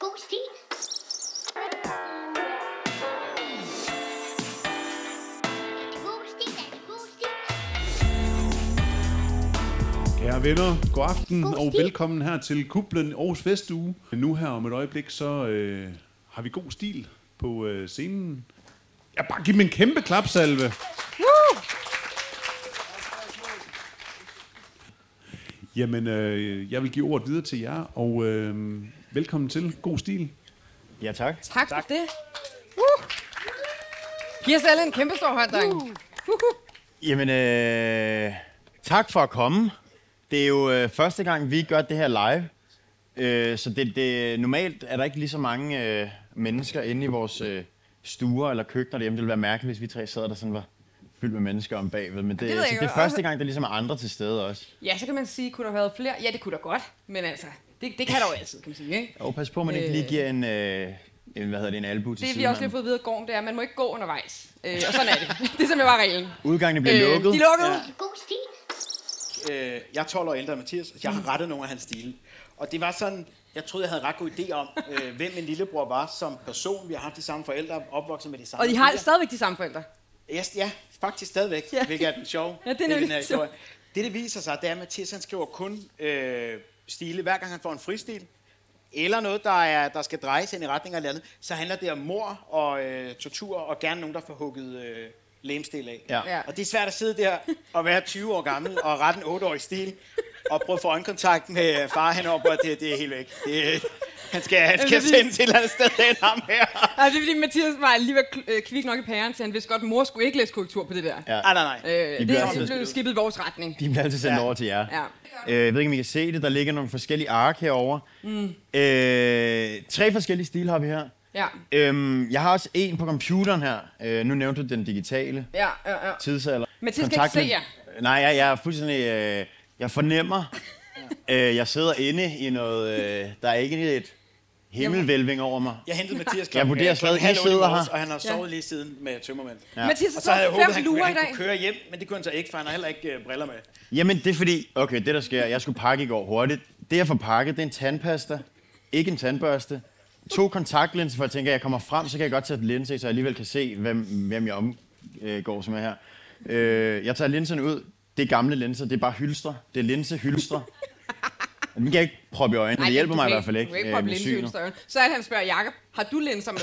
Boosty. Boosty, Boosty. Kære venner, god aften God og stil. velkommen her til Kuplen Aarhus Vestuge. Nu her om et øjeblik, så øh, har vi god stil på øh, scenen. Ja, bare giv dem en kæmpe klapsalve. Jamen, øh, jeg vil give ordet videre til jer, og øh, velkommen til God Stil. Ja, tak. Tak, tak. for det. Uh. Giv os alle en kæmpe stor hånd, dreng. Uh. Jamen, øh, tak for at komme. Det er jo øh, første gang, vi gør det her live. Øh, så det, det, normalt er der ikke lige så mange øh, mennesker inde i vores øh, stuer eller køkkener derhjemme. Det ville være mærkeligt, hvis vi tre sad der sådan var fyldt med mennesker om bagved. Men det, ved det, jeg så ikke, det er hvad- første gang, der ligesom er andre til stede også. Ja, så kan man sige, kunne der have været flere? Ja, det kunne der godt, men altså, det, det kan der jo altid, kan man sige, ikke? Og pas på, at man ikke Øh. lige giver en, øh, en, hvad hedder det, en albu til Det vi siden. også lige har fået at vide af Gorm, det er, at man må ikke gå undervejs. Øh, og sådan er det. Det er simpelthen bare reglen. Udgangene bliver Øh, lukket. De lukkede. Ja. Boosty. Øh, jeg er 12 år ældre end Mathias, og jeg Mm. har rettet nogle af hans stile. Og det var sådan, jeg troede, jeg havde ret god idé om, øh, hvem min lillebror var som person. Vi har haft de samme forældre, opvokset med de samme Og de har stiler. stadigvæk de samme forældre. Ja, st- ja, faktisk stadigvæk, Ja. ja. hvilket er den sjove. Ja, det er del i den nemlig her sjov. historie. Det, det viser sig, det er, at Mathias han skriver kun øh, stile, hver gang han får en fristil, eller noget, der, er, der skal drejes ind i retning af andet, så handler det om mor og øh, tortur, og gerne nogen, der får hugget øh, lemstil af. Ja. Ja. Og det er svært at sidde der og være 20 år gammel og rette en 8-årig stil, og prøve at få øjenkontakt med øh, far henover, og det, det er helt væk. Det, øh, han skal, han Jamen, skal det er fordi- sendes et eller andet sted hen, ham her. Altså, det er fordi, Mathias var alligevel øh, kvik nok i pæren, så han vidste godt, at mor skulle ikke læse korrektur på det der. Ja. Ah, nej, nej. Øh, det bliver er altid blevet skidt. skippet i vores retning. De bliver altid sendt Ja. over til jer. Ja. Øh, jeg ved ikke, om I kan se det. Der ligger nogle forskellige ark herovre. Mm. Øh, tre forskellige stil har vi her. Ja. Øhm, jeg har også en på computeren her. Øh, nu nævnte du den digitale Ja, ja, ja. tidsalder. Mathias kan Kontakt ikke se med- Nej, jeg, jeg er fuldstændig... Øh, jeg fornemmer, øh, jeg sidder inde i noget... Øh, der er ikke et himmelvælving over mig. Jeg hentede Mathias Jeg vurderer øh, klokken stadig, halv han otte i sidder morges, her. Og han har Ja. sovet lige siden med tømmermænd. Ja. Mathias har Og så havde jeg sovet håbet, fem han, kunne, lurer i han dag. kunne køre hjem, men det kunne han så ikke, for han har heller ikke øh, briller med. Jamen, det er fordi... Okay, det der sker... Jeg skulle pakke i går hurtigt. Det, jeg får pakket, det er en tandpasta. Ikke en tandbørste. To kontaktlinser, for jeg tænker, at jeg kommer frem, så kan jeg godt tage et linse, i, så jeg alligevel kan se, hvem, hvem jeg omgår, som er her. Øh, jeg tager linserne ud. Det er gamle linser. Det er bare hylstre. Det er linsehylstre. Dem kan jeg ikke proppe i øjnene. Nej, det hjælper du mig i kan hvert fald du ikke. kan ikke øh, proppe med synet. linser i øjnene. Så er det, han spørger, Jakob, har du linser med?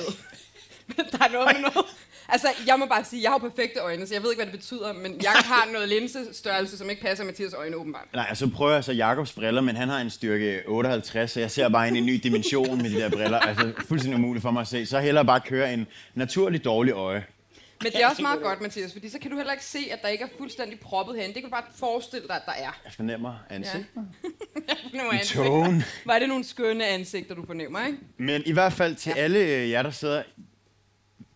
Men der er noget med noget. Altså, jeg må bare sige, jeg har jo perfekte øjne, så jeg ved ikke, hvad det betyder, men Jakob har noget linsestørrelse, som ikke passer Mathias øjne åbenbart. Nej, og så prøver jeg så Jakobs briller, men han har en styrke 58, så jeg ser bare ind i en ny dimension med de der briller. Altså, fuldstændig umuligt for mig at se. Så hellere bare køre en naturlig dårlig øje. Men det er også meget godt, Mathias, fordi så kan du heller ikke se, at der ikke er fuldstændig proppet herinde. Det kan du bare forestille dig, at der er. Jeg fornemmer ansigt. Nogle ansigter. Tone. Var det nogle skønne ansigter, du fornemmer, ikke? Men i hvert fald til alle øh, jer, der sidder,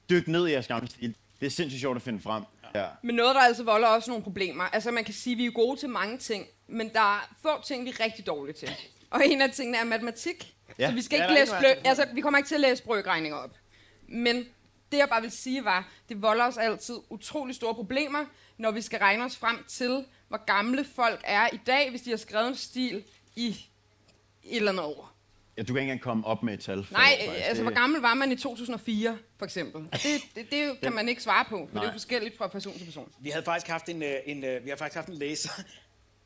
dyk ned i jeres gamle stil. Det er sindssygt sjovt at finde frem. Ja. Men noget, der altså volder også nogle problemer. Altså man kan sige, at vi er gode til mange ting, men der er få ting, vi er rigtig dårlige til. Og en af tingene er matematik. Ja. Ja. Så vi skal Ja, ikke der er læse ikke blø- noget andet. altså, vi kommer ikke til at læse brøkregninger op. Men det, jeg bare vil sige, var, det volder os altid utrolig store problemer, når vi skal regne os frem til, hvor gamle folk er i dag, hvis de har skrevet en stil i et eller andet år. ja. du kan ikke engang komme op med et tal. for Nej, det, faktisk. altså Det- hvor gammel var man i 2004, for eksempel? Og Det, det, det kan man ikke svare på, for Nej. det er Nej. jo forskelligt fra person til person. Vi havde faktisk haft en, øh, en, øh, vi har faktisk haft en læser,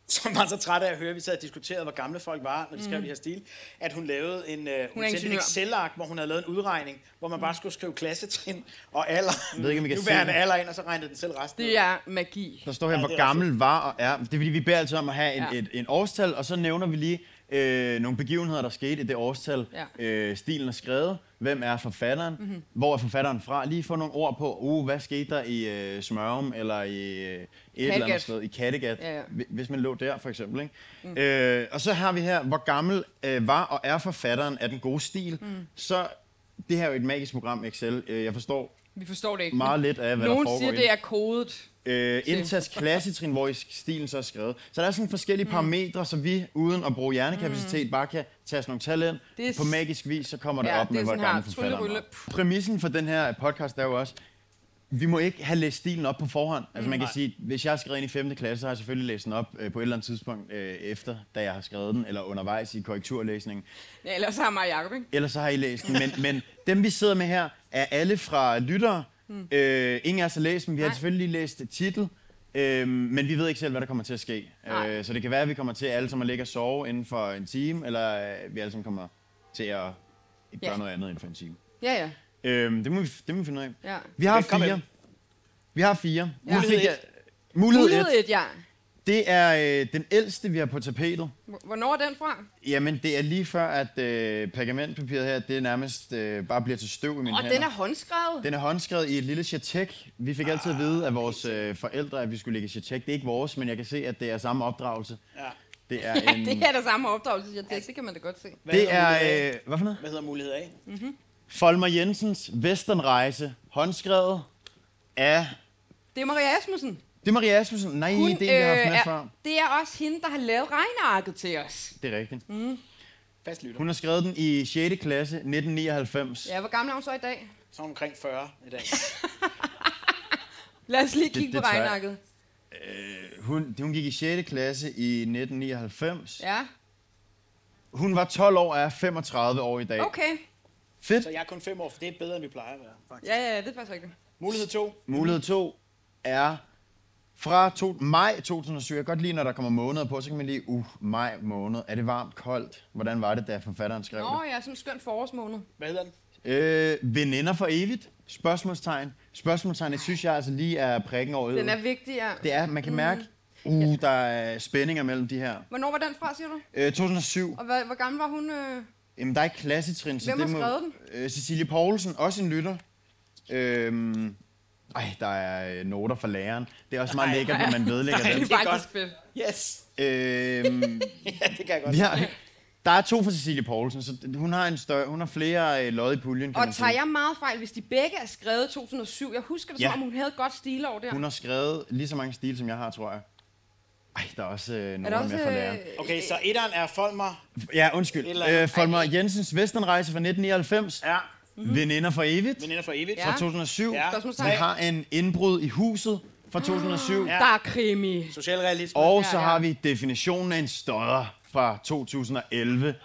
som var så træt af at høre, at vi sad og diskuterede, hvor gamle folk var, når de skrev mm. de her stil, at hun lavede en, øh, hun Mhm. er sendte en ingeniør. Excel-ark, hvor hun havde lavet en udregning, hvor man bare skulle skrive klassetrin og alder. Jeg ved ikke, om I kan nu se bærer han det. alder ind, og så regnede den selv resten. ud. Det er magi. Der står her, Ja, hvor det er rigtigt. gammel var og er. Det er fordi, vi beder altid om at have en, Ja. ja. et, en årstal, og så nævner vi lige øh, nogle begivenheder, der skete i det årstal. Ja. Mhm. Øh, stilen er skrevet. Hvem er forfatteren? Mm-hmm. Hvor er forfatteren fra? Lige få nogle ord på, uh, hvad skete der i øh, Smørum, eller i øh, et eller andet Kattegat. sted, i Kattegat, Ja, ja. hvi- hvis man lå der for eksempel. Ikke? Mm. Øh, og så har vi her, hvor gammel øh, var og er forfatteren af den gode stil. Mm. Så det her er jo et magisk program, Excel. Øh, jeg forstår Vi forstår det ikke. meget lidt af, hvad der Nogen foregår siger, i det er kodet. øh, indsats klassetrin, hvor i stilen så er skrevet. Så der er sådan forskellige Mm. parametre, så vi uden at bruge hjernekapacitet bare kan tage sådan nogle tal ind. Det er s- På magisk vis, så kommer det Ja, op det med, er hvor sådan her, gammel forfatteren tryllerylle. var. Præmissen for den her podcast er jo også, vi må ikke have læst stilen op på forhånd. Altså man kan Mm. sige, hvis jeg har skrevet ind i 5. klasse, så har jeg selvfølgelig læst den op øh, på et eller andet tidspunkt øh, efter, da jeg har skrevet den, eller undervejs i korrekturlæsningen. Ja, ellers har mig og Jacob, ikke? Ellers så har I læst den. Men, men dem, vi sidder med her, er alle fra lyttere. Mm. Øh, ingen af os har læst dem. Vi har Hmm. Nej. selvfølgelig lige læst titel, øh, men vi ved ikke selv, hvad der kommer til at ske. Nej. Øh, så det kan være, at vi kommer til alle sammen at ligge og sove inden for en time, eller øh, vi alle sammen kommer til at gøre Ja. noget andet inden for en time. Ja, ja. Øh, det, må vi, det må vi finde ud af. ja. Vi har Velkommen. fire. Vi har fire. Ja. Nu fik Mulighed jeg- Mulighed, Mulighed mulighed et. et, ja. Det er øh, den ældste, vi har på tapetet. Hvor- Hvornår er den fra? Jamen, det er lige før, at øh, pergamentpapiret her, det nærmest øh, bare bliver til støv i mine Og hænder. den er håndskrevet. den er håndskrevet i et lille chatek. Vi fik altid at vide af vores øh, forældre, at vi skulle lægge chatek. Det er ikke vores, men jeg kan se, at det er samme opdragelse. Ja. Det er en... Det er der samme opdragelse, jeg tænkte. Det kan man da godt se. Hvad det hedder mulighed er A? øh, hvad for noget? Hvad hedder mulighed A? Folmer Jensens Westernrejse, håndskrevet af... Det er Maria Asmussen. Det er Maria Asmussen. Nej, Hun, det er vi har haft øh, med er- før. Det er også hende, der har lavet regnearket til os. Det er rigtigt. Fast lytter. Hun har skrevet den i 6. klasse 1999. Ja, hvor gammel er hun så i dag? Så er hun omkring 40 i dag. Lad os lige Det- kigge det på tør jeg. regnearket. Hun, hun gik i 6. klasse i 1999. Ja, Hun var 12 år og er 35 år i dag. okay. Fedt. Så jeg er kun 5 år, for det er bedre, end vi plejer at være. Faktisk. Ja, ja, det er faktisk rigtigt. Mulighed 2. Mulighed 2 er fra to, maj 2007. Jeg kan godt lide, når der kommer måneder på, så kan man lige, uh, maj måned. Er det varmt, koldt? Hvordan var det, da forfatteren skrev Nå ja, sådan en skøn forårsmåned. Hvad hedder den? det? Øh, veninder for evigt? Spørgsmålstegn. Spørgsmålstegn, det synes jeg altså lige er prikken over Den øjet. er Mm. vigtig, ja. Det er, man kan mærke, uh, der er spændinger mellem de her. Hvornår var den fra, siger du? Øh, 2007. Og hvad, hvor gammel var hun? Øh? Jamen, der er ikke klassetrin, så Hvem det har må... skrevet den? Øh, Cecilie Poulsen, også en lytter. Øhm, ej, der er øh, noter fra læreren. Det er også meget lækkert, når man vedlægger Ej, dem. det er godt. faktisk fedt. Yes. Øhm, Ja, det kan jeg godt. vi har, der er to fra Cecilie Poulsen, så d- hun har, en større, hun har flere øh, lod i puljen, kan Og man sige. tager jeg meget fejl, hvis de begge er skrevet i 2007? Jeg husker det, som Ja. om hun havde et godt stilår der. Hun har skrevet lige så mange stil, som jeg har, tror jeg. Ej, der er også øh, er noter der også, også... med fra læreren. øh, Okay, så etteren er Folmer. Ja, Et undskyld. eller andet. Øh, Folmer Jensens Westernrejse fra 1999. Ja. Veninder for evigt. Veninder for evigt. Ja. fra 2007. Ja. Mhm. Spørgsmålstegn. Vi har en indbrud i huset fra 2007. Ja. Der er krimi. Socialrealisme. Og Ja, så ja. har vi definitionen af en stodder fra 2011,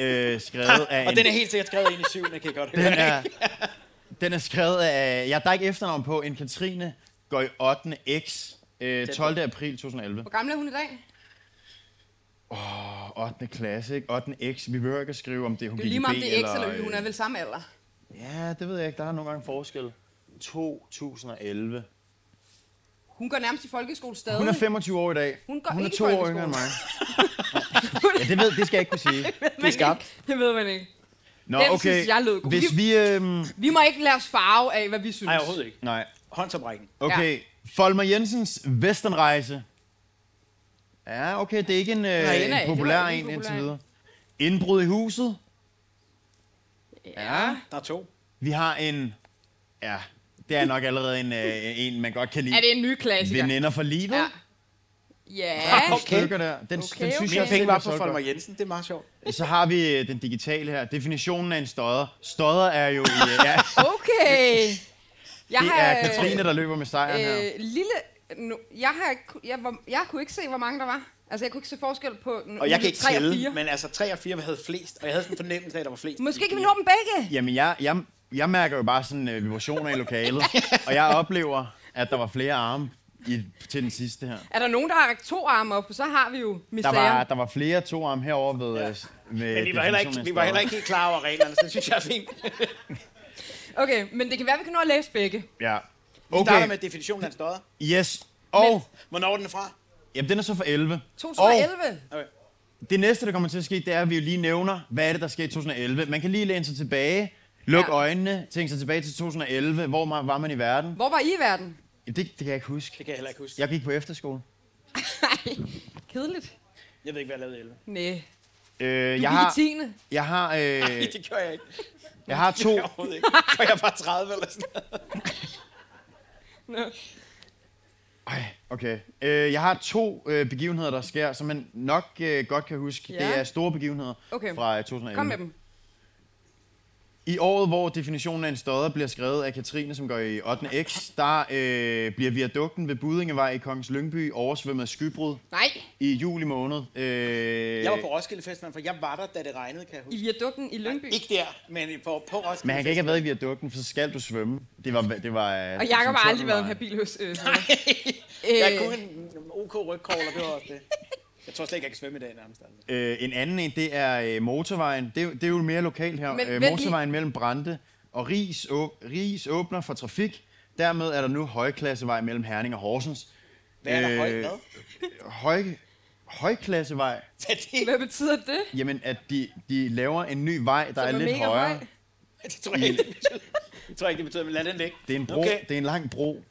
øh, skrevet af og en... den er helt sikkert skrevet ind i syvende, kan jeg godt høre. den er, den er skrevet af... Ja, der er ikke efternavn på. En Katrine går i 8. X. Øh, 12. april 2011. Hvor gammel er hun i dag? Og 8. klasse, ikke? 8. X. Vi behøver ikke at skrive, om det er hun Det er gik i jo lige B meget, om det er X eller Y. øh, Hun er vel samme alder. Ja, det ved jeg ikke. Der er nogle gange forskel. 2011. Hun går nærmest i folkeskole stadig. Hun er 25 år i dag. Hun går hun er ikke i to år folkeskole. yngre end mig. ja, det, ved, det skal jeg ikke kunne sige. det er skarpt. Det ved man ikke. Nå, Den synes jeg lød god. Hvis vi... Øhm, Vi må ikke lade os farve af, hvad vi synes. Nej, overhovedet ikke. nej, Håndsoprækken. okay. Ja. Folmer Jensens Westernrejse. Ja, okay, det er ikke en, øh, Nej, den er en ikke- populær det var ikke en en indtil populær videre. Indbrud i huset. Ja. Der er to. Vi har en... Ja, det er nok allerede en, øh, en man godt kan lide. Er det en ny klassiker? Veninder for livet. Ja. Ja. Ja. Okay. Stykker der. Den, Okay, den synes okay. jeg Mine er penge selv var på solgt Folmer godt. Jensen. Det er meget sjovt. Så har vi øh, den digitale her. Definitionen af en stodder. Stodder er jo... i- Ja, Okay. Jeg det har, er øh, Katrine, der løber med sejren her. øh, lille... Nu, jeg, har, ikke ku- jeg, var, jeg kunne ikke se, hvor mange der var. Altså, jeg kunne ikke se forskel på... Og jeg kan ikke tælle, Men... men altså 3 og 4 havde flest, og jeg havde sådan en fornemmelse af, at der var flest. Måske kan vi nå dem begge. Jamen, jeg, jeg, jeg mærker jo bare sådan øh, vibrationer i lokalet, og jeg oplever, at der var flere arme i, til den sidste her. Er der nogen, der har rækket to arme op, så har vi jo Der misæren. var, der var flere to arme herovre ved, øh, ja. ved Men vi var, heller ikke, definitionen af vi var stodder. heller ikke helt klar over reglerne, så det synes jeg er fint. Vi Okay, men det kan være, vi kan nå at læse begge. Ja. starter Okay, med definitionen af en stodder. yes. Og, Hvornår er den fra? jamen, den er så for 11. 2011. det næste, der kommer til at ske, det er, at vi jo lige nævner, hvad er det, der sker i 2011. Man kan lige læne sig tilbage, luk Ja. ja. øjnene, tænke sig tilbage til 2011. Hvor ma- var man i verden? Hvor var I i verden? Det, det kan jeg ikke Det huske. kan jeg heller ikke huske. Jeg gik på efterskole. Kedeligt. Jeg ved ikke, hvad jeg lavede i 11. Næh. Øh, Du jeg, gik i har, 10. jeg, har, øh, Det gjorde jeg ikke. jeg har to... Overhovedet ikke. For jeg var 30 eller sådan noget. Nå. Ej, okay. Øh, jeg har to øh, begivenheder, der sker, som man nok øh, godt kan huske. Ja. Det er store begivenheder Okay. fra øh, 2011. Kom med dem. I året, hvor definitionen af en stodder bliver skrevet af Katrine, som går i 8. X, der øh, bliver viadukten ved Budingevej i Kongens Lyngby oversvømmet af skybrud Nej, i juli måned. Øh, Jeg var på Roskilde Festival, for jeg var der, da det regnede, kan jeg i huske. viadukten i Lyngby. Ikke der, men på, på Roskilde men han kan ikke have været i viadukten, for så skal du svømme. Det var, det var, øh, Og Jacob har aldrig været en habil hos... Øh, sådan noget. Jeg Øh. kunne en OK rygkogler, det var også det. Jeg tror slet ikke, jeg kan svømme i dag nærmest. altså. Øh, en anden en, det er øh, motorvejen. Det, er jo- det er jo mere lokalt her. Men Men, vent øh, lige. motorvejen mellem Brande og Ries, åb- Ries åbner for trafik. Dermed er der nu højklassevej mellem Herning og Horsens. Hvad er der højt Øh, hvad? Høj, højklassevej. Hvad er det? Hvad betyder det? Jamen, at de, de laver en ny vej, der er, Som lidt mega højere. høj. Det tror jeg ikke, det betyder. Det tror jeg ikke, det betyder, men lad den ligge. Det er en bro. Okay. Okay. Det er en lang bro.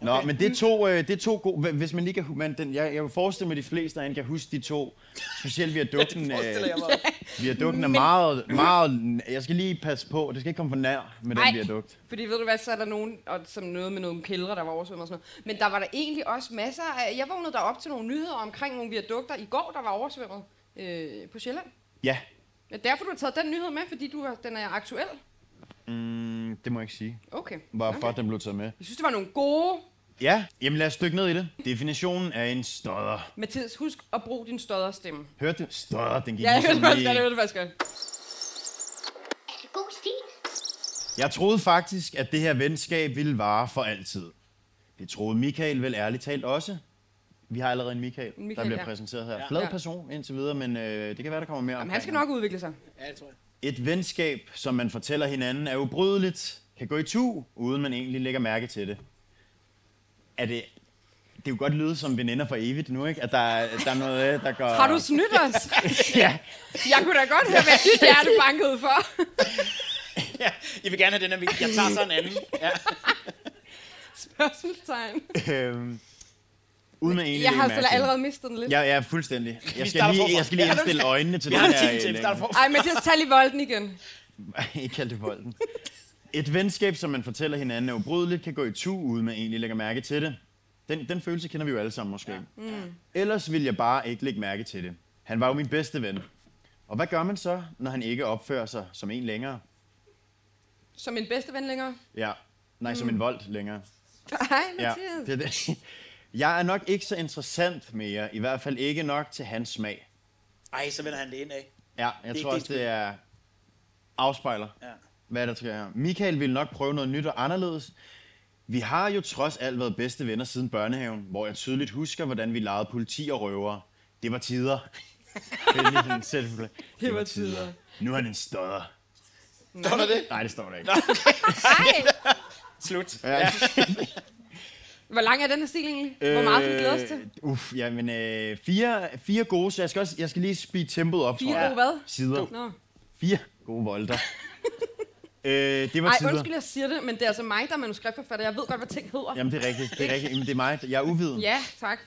Nå, okay. Mm. men det er to, øh, det er to gode... Hvis man lige kan... hu- Man, den, jeg, jeg vil forestille mig, at de fleste af jer kan huske de to. Specielt viadukten. Det øh, forestiller jeg mig. viadukten er meget, meget... Jeg skal lige passe på. Det skal ikke komme for nær med Ej, den viadukt. Fordi ved du hvad, så er der nogen, og som noget med nogle kældre, der var oversvømmet og sådan noget. Men der var der egentlig også masser af... Jeg vågnede der op til nogle nyheder omkring nogle viadukter i går, der var oversvømmet øh, på Sjælland. Ja, Men derfor du har taget den nyhed med, fordi du har, den er aktuel. mm, det må jeg ikke sige. Okay. Hvorfor okay. den blev taget med. Jeg synes, det var nogle gode... Ja, jamen lad os dykke ned i det. Definitionen af en stodder. Mathias, husk at bruge din stodderstemme. Hørte du? Stodder, den gik Ja, jeg hørte ligesom det faktisk lige- godt, jeg hørte det faktisk godt. God stil. Jeg troede faktisk, at det her venskab ville vare for altid. Det troede Michael vel ærligt talt også. Vi har allerede en Michael, Michael, der bliver ja. præsenteret her. Flad Ja. person indtil videre, men øh, det kan være, der kommer mere Jamen, omkring han skal ham. nok udvikle sig. Ja, det tror jeg. Et venskab, som man fortæller hinanden, er ubrydeligt, kan gå i tu, uden man egentlig lægger mærke til det. Er det... Det kunne godt lyde som veninder for evigt nu, ikke? At der, er- der er noget, øh, der går... Har du snydt os? Ja. Jeg kunne da godt høre, hvad dit hjerte bankede for. Ja, jeg vil gerne have den her video. Jeg tager så en anden. Ja. Spørgsmålstegn. Øhm, uden man egentlig lægger Jeg har mærke til selv det. allerede mistet den lidt. Ja, ja, fuldstændig. Jeg skal, starter lige, forfra. jeg skal lige Ja, indstille øjnene til Vi den har en her. time til, vi længde. starter forfra. Ej, Mathias, tag lige volden igen. Ikke kald det volden. Et venskab, som man fortæller hinanden er ubrydeligt, kan gå i tu, uden man egentlig lægger mærke til det. Den, den følelse kender vi jo alle sammen måske. Ja. Mm. Ellers vil jeg bare ikke lægge mærke til det. Han var jo min bedste ven. Og hvad gør man så, når han ikke opfører sig som en længere? Som min bedste ven længere. Ja, nej, mm. som en vold længere. Hej, Ja, Mathias. det er det. Jeg er nok ikke så interessant mere, i hvert fald ikke nok til hans smag. Ej, så vender han det ind af. Ja, jeg Det er tror ikke også, din det er afspejler. Ja. Hvad er der sker her? Michael ville nok prøve noget nyt og anderledes. Vi har jo trods alt været bedste venner siden børnehaven, hvor jeg tydeligt husker, hvordan vi legede politi og røvere. Det var tider. Vældig sådan selvforklar- det var tider. Nu er han en stodder. Står der det? Nej, det står der ikke. Hej. Slut. Ja. Hvor lang er den her stil egentlig? Hvor meget kan vi glæde os til? Øh, Uff, jamen øh, fire, fire gode, så jeg skal, også, jeg skal lige speede tempoet op, Fire tror jeg. gode hvad? Sider. Nå. Fire gode volter. øh, det var Ej, tider. undskyld, jeg siger det, men det er altså mig, der er manuskriptforfatter. Jeg ved godt, hvad ting hedder. Jamen, det er rigtigt. Det er, rigtigt. Jamen, det er mig. Jeg er uviden. Ja, tak.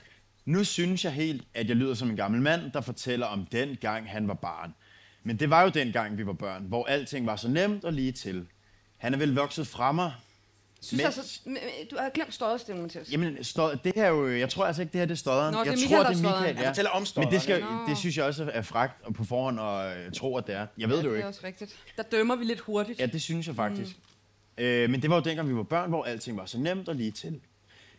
Nu synes jeg helt, at jeg lyder som en gammel mand, der fortæller om den gang, han var barn. Men det var jo den gang, vi var børn, hvor alting var så nemt og lige til. Han er vel vokset fra mig. Synes Men- altså, m- m- du har glemt støjstemmen, Mathias. Jamen, stod, det her er jo, jeg tror altså ikke, det her det er stodderen. Nå, jeg det er tror, Michael, der er stodderen. Michael, Han fortæller om Men det, skal, stodderen. det synes jeg også er fragt og på forhånd og øh, tro, at det er. Jeg ved det jo Det er ikke. også rigtigt. Der dømmer vi lidt hurtigt. Ja, det synes jeg faktisk. Mm. Øh, men det var jo dengang, vi var børn, hvor alting var så nemt og lige til.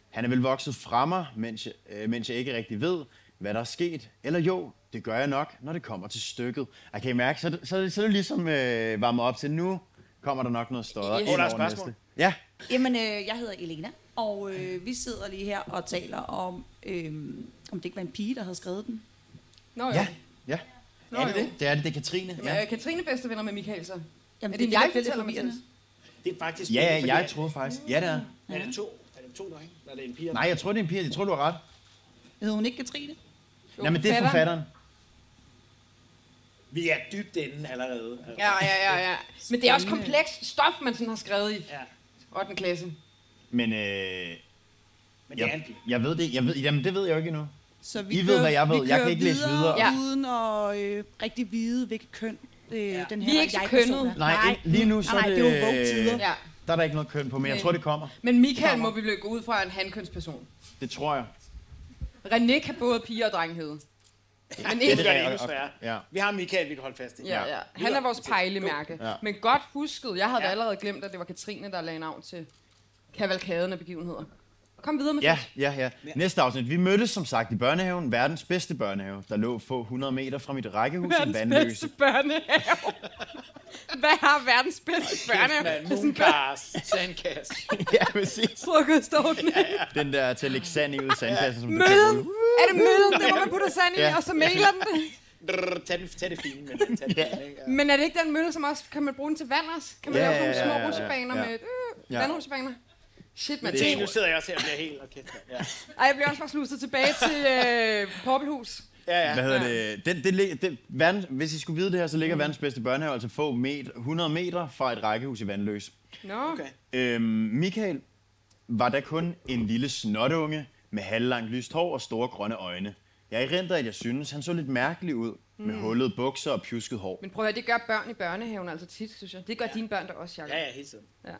Han er vel vokset fra mig, mens jeg, øh, mens jeg ikke rigtig ved, hvad der er sket. Eller jo, det gør jeg nok, når det kommer til stykket. Og kan I mærke, så, er det- så, er det- så er det ligesom øh, varmet op til, nu kommer der nok noget større. Yes. ind der er et over spørgsmål. næste. Ja, Jamen, øh, jeg hedder Elena, og øh, vi sidder lige her og taler om, øh, om det ikke var en pige, der havde skrevet den. Nå, ja, ja. Nå, er det jo. det? Det er det, det er Katrine. Jamen, Ja, er Katrine bedste venner med Michael, så? Jamen, Er det, jeg fortæller, Mathias? Det er faktisk... ja, ja fordi- jeg troede faktisk. Ja, det er. Er det to? Er det to drenge? Eller er det en pige? Nej, jeg tror, det er en pige. Jeg tror, du har ret. Hed hun ikke Katrine? Jo, Nej, men det er forfatteren. Vi er dybt inde allerede. Ja, ja, ja, ja. Men det er også komplekst stof, man sådan har skrevet i ja. 8. klasse. Men øh, Men det er en jeg, pige. jeg ved det. Jeg ved, jamen, det ved jeg jo ikke endnu. Så I ved, hvad jeg ved. Jeg vi kører kan ikke læse videre. Ja. Uden at øh, rigtig vide, hvilket køn øh, ja. den her Vi er ikke så jeg-person kønnet. er. Nej, lige nu så nej, er nej, det... øh, det er jo vogue-tider. Ja. Der er der ikke noget køn på, men jeg Nej. tror, det kommer. Men Michael må vi vel gå ud fra er en handkønsperson. Det tror jeg. René kan både piger og drenge hedde. Men Det gør det Ja, endnu og- sværere. ja. Vi har Michael, vi kan holde fast i. Ja, ja. Han er vores pejlemærke. Ja. Men godt husket, jeg havde ja. Ja. allerede glemt, at det var Katrine, der lagde navn til kavalkaden af begivenheder. Kom videre med Ja, det. ja, ja. Næste afsnit. Vi mødtes som sagt i børnehaven, verdens bedste børnehave, der lå få 100 meter fra mit rækkehus i Verdens Vandløse. bedste børnehave. Hvad har verdens bedste børnehave? Man, Det er sådan bare mooncars, sandkasse. ja, præcis. frokostordning. Den der til lægge sand i ud i sandkassen, som du kan Møllen. rulle. Er det møllen, det hvor man putter sand i, Ja. og så mailer den det? Drrr, Tag det, tag det fine, men øh, tag det fine. ikke? Ja. Men er det ikke den mølle, som også kan man bruge den til vand også? Kan man Ja, lave sådan ja, ja, nogle små ja, ja, rutsjebaner ja. med øh, Ja. vandrutsjebaner? Shit, man. Se, nu Det sidder jeg også her og bliver helt okay. Ja, Ej, jeg bliver også bare sluset tilbage til øh, Poppelhus. ja. ja. Hvad hedder det? Det, det, lig- det verdens, hvis I skulle vide det her, så ligger verdens bedste børnehave altså få meter, 100 meter fra et rækkehus i Vandløse. Nå, Okay. Øhm, Michael var da kun en lille snotunge med halvlangt lyst hår og store grønne øjne. Jeg erindrer, at jeg synes, han så lidt mærkelig ud med Mm. hullede bukser og pjusket hår. men prøv at høre, det gør børn i børnehaven altså tit, synes jeg. Det gør dine børn der også, Jacob. Ja, ja, hele tiden. Ja.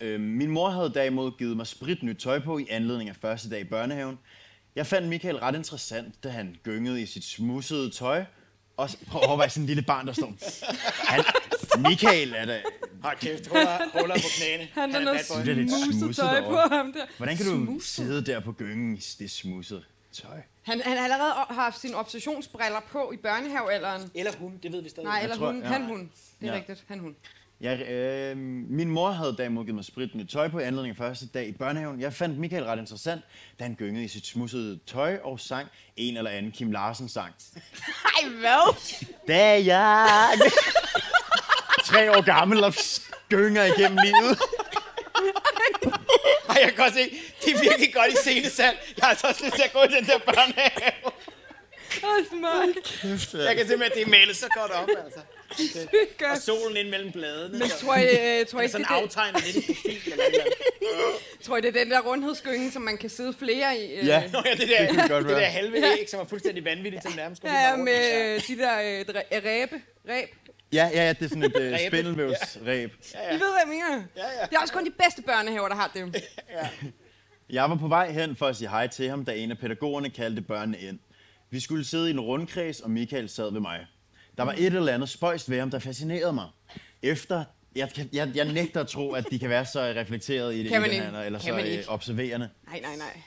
Øhm, min mor havde derimod givet mig sprit nyt tøj på i anledning af første dag i børnehaven. Jeg fandt Michael ret interessant, da han gyngede i sit smussede tøj. Og s- prøv at overveje sådan en lille barn, der står... Han, Michael er da... Hold kæft, huller, huller på knæene. Han har er noget bad boy. Det er lidt smuset smuset tøj derovre. på ham der. Hvordan kan du Smuset. sidde der på gyngen i det smussede tøj? Han, han har allerede o- haft sine obsessionsbriller på i børnehavealderen. Eller hun, det ved vi stadig. Nej, eller tror, hun. ja. Han, hun. Det er Ja. rigtigt. Han, hun. Jeg, øh, min mor havde derimod givet mig sprit nyt tøj på i anledning af første dag i børnehaven. Jeg fandt Michael ret interessant, da han gyngede i sit smussede tøj og sang en eller anden Kim Larsen-sang. Ej, hvad? Da jeg... Tre år gammel og gynger igennem livet. Ej, jeg kan godt se, det er virkelig godt i scenesal. Jeg har altså også lyst til at gå i den der børnehave. Åh, smart. Jeg kan simpelthen, det er malet så godt op, altså. Det gør Og solen ind mellem bladene. Men og- tror I, øh, tror, I er ikke, sådan det, er aftegnet lidt i profil eller noget. det, tror I, det er den der rundhedsgynge, som man kan sidde flere i? Øh, Ja, Nå ja, det der, kunne godt det der være. halve æg, som er fuldstændig vanvittigt til nærmest. går ja lige med bare rundt. øh, de der øh, dre- øh, ræbe. Ræb. ja, ja, ja det er sådan et øh, Ræbe. spindelvævsræb. Ja. I ved, hvad jeg mener. Ja, ja. Det er også kun de bedste børnehaver, der har det. Jeg var på vej hen for at sige hej til ham, da en af pædagogerne kaldte børnene ind. Vi skulle sidde i en rundkreds, og Michael sad ved mig. Der var et eller andet spøjst ved ham, der fascinerede mig. Efter... Jeg, kan- jeg, jeg nægter at tro, at de kan være så reflekteret i det, Kan man i den ikke. her, eller Kan så man øh, ikke. observerende. Nej, nej, nej.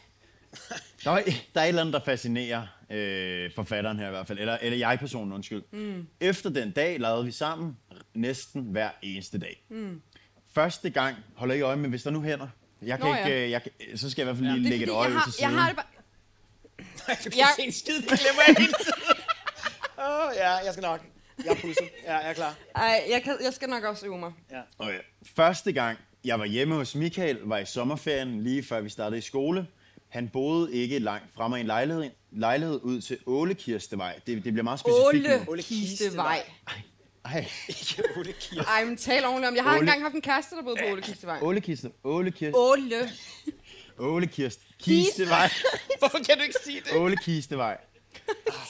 Der, var, der er et eller andet, der fascinerer øh, forfatteren her i hvert fald, eller, eller jeg-personen, undskyld. Mm. Efter den dag lavede vi sammen næsten hver eneste dag. Mm. Første gang, holder ikke øje med, hvis der nu hænder. Jeg kan Nå Nå, ja. ikke, øh, jeg, kan- så skal jeg i hvert fald lige Det er lægge fordi, et øje jeg ud har, til siden. jeg har det bare... Du kan ikke se en skid, det glemmer jeg hele tiden. Åh, oh, ja, jeg skal nok. Jeg er pusset. Ja, jeg er klar. Ej, jeg, kan, jeg skal nok også øve mig. Okay. Første gang, jeg var hjemme hos Michael, var i sommerferien, lige før vi startede i skole. Han boede ikke langt fremme i en lejlighed, lejlighed ud til Ålekirstevej. Det, det bliver meget specifikt Åle nu. Ole Kistevej. Ej, Ikke Ole Kirk. Ej, men tal ordentligt om. Jeg har Åle- engang haft en kæreste, der boede på Åle Kistevej. Ålekiste, Ålekirst, Åle. Ålekirst, Kistevej, Hvorfor kan du ikke sige det? Ålekistevej.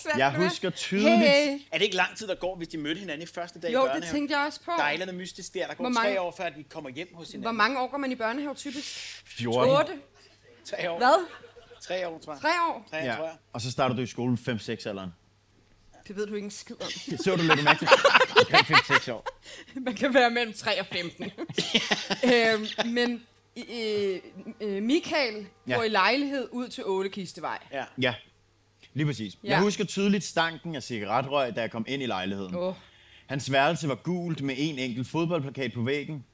Svært, Jeg hva'? husker tydeligt, Hey. Er det ikke lang tid, der går, hvis de mødte hinanden i første dag Jo, i det børnehaven? tænkte jeg også på. Der er et eller andet mystisk der. Der går Hvor mange- tre år, før at vi kommer hjem hos Hvor hinanden. mange år går man i børnehave typisk? 14, 8? Tre år. Hvad? Tre år, tror jeg. 3 år? Tre år, tror ja, jeg. og så starter du i skolen 5-6 alderen. Det ved du ikke en skid om. Det så du lidt mærke til. Omkring 5-6 år. Man kan være mellem 3 og 15. øhm, men øh, øh, Michael Ja. ja. går i lejlighed ud til Ålekistevej. Åh, Ja. Ja, lige præcis. Ja. Jeg husker tydeligt stanken af cigaretrøg, da jeg kom ind i lejligheden. oh, Hans værelse var gult med en enkelt fodboldplakat på væggen.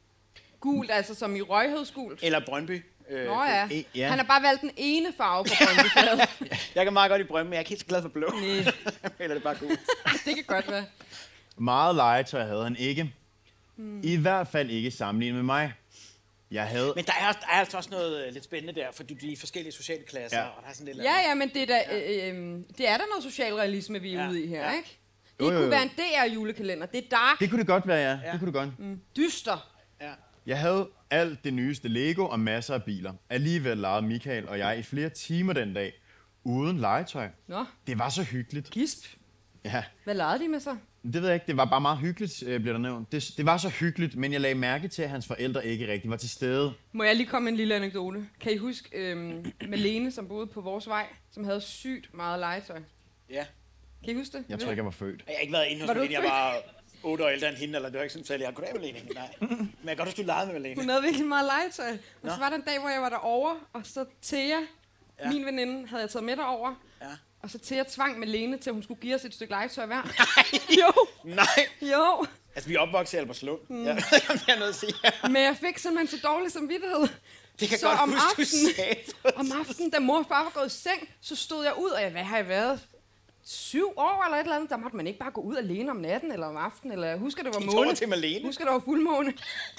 gult, altså som i røghødsgult. Eller Brøndby. Øh, Nå ja. e- ja. han har bare valgt den ene farve på grønbefladet. Jeg kan meget godt i Brøndby, men jeg er ikke helt så glad for blå. Mm. eller er det bare gult. det kan godt være. Meget legetøj havde han ikke. Hmm. I hvert fald ikke sammenlignet med mig. Jeg havde... Men der er, også- der er altså også noget øh, lidt spændende der, for de er forskellige sociale klasser, Ja. og der er sådan lidt... Ja, ja, men det er da, øh, øh, det er da noget socialrealisme, vi er Ja, ude i her, ja. ikke? Det Jo, jo, kunne jo. være en DR-julekalender. Det er dark, Det kunne det godt være, ja. Det kunne det godt. dyster. ja. Jeg havde alt det nyeste Lego og masser af biler. Alligevel legede Michael og jeg i flere timer den dag. Uden legetøj. Nå, Det var så hyggeligt. gisp. Ja, Hvad legede de med så? det ved jeg ikke. Det var bare meget hyggeligt, øh, bliver der nævnt. Det, det var så hyggeligt, men jeg lagde mærke til, at hans forældre ikke rigtig var til stede. Må jeg lige komme med en lille anekdote? Kan I huske øhm, Malene, som boede på vores vej, som havde sygt meget legetøj? ja. Kan I huske det? Jeg tror ikke, jeg var født. Jeg har ikke været inde hos Var du Malene, jeg ikke var otte år ældre end hende, eller det var ikke sådan, at jeg sagde, goddag Malene. Nej. Men jeg kan godt huske, du legede med Hun Malene. havde virkelig meget legetøj. Og så Nå. var der en dag, hvor jeg var derovre, og så Thea, ja. min veninde, havde jeg taget med derover. Ja. Og så Thea tvang Malene til, at hun skulle give os et stykke legetøj hver. jo, Nej, jo. altså vi er opvokset i Albertslund. Mm. Ja, jeg er nødt til at sige. Men jeg fik simpelthen så dårlig samvittighed. Det så kan så godt om huske, aftenen, du sagde. om aftenen, da mor og far var gået i seng, så stod jeg ud, og jeg, hvad har jeg været? syv år eller et eller andet, der måtte man ikke bare gå ud alene om natten eller om aftenen, eller jeg husker, det var Gik du over måne. til Malene? Husker, det var fuldmåne.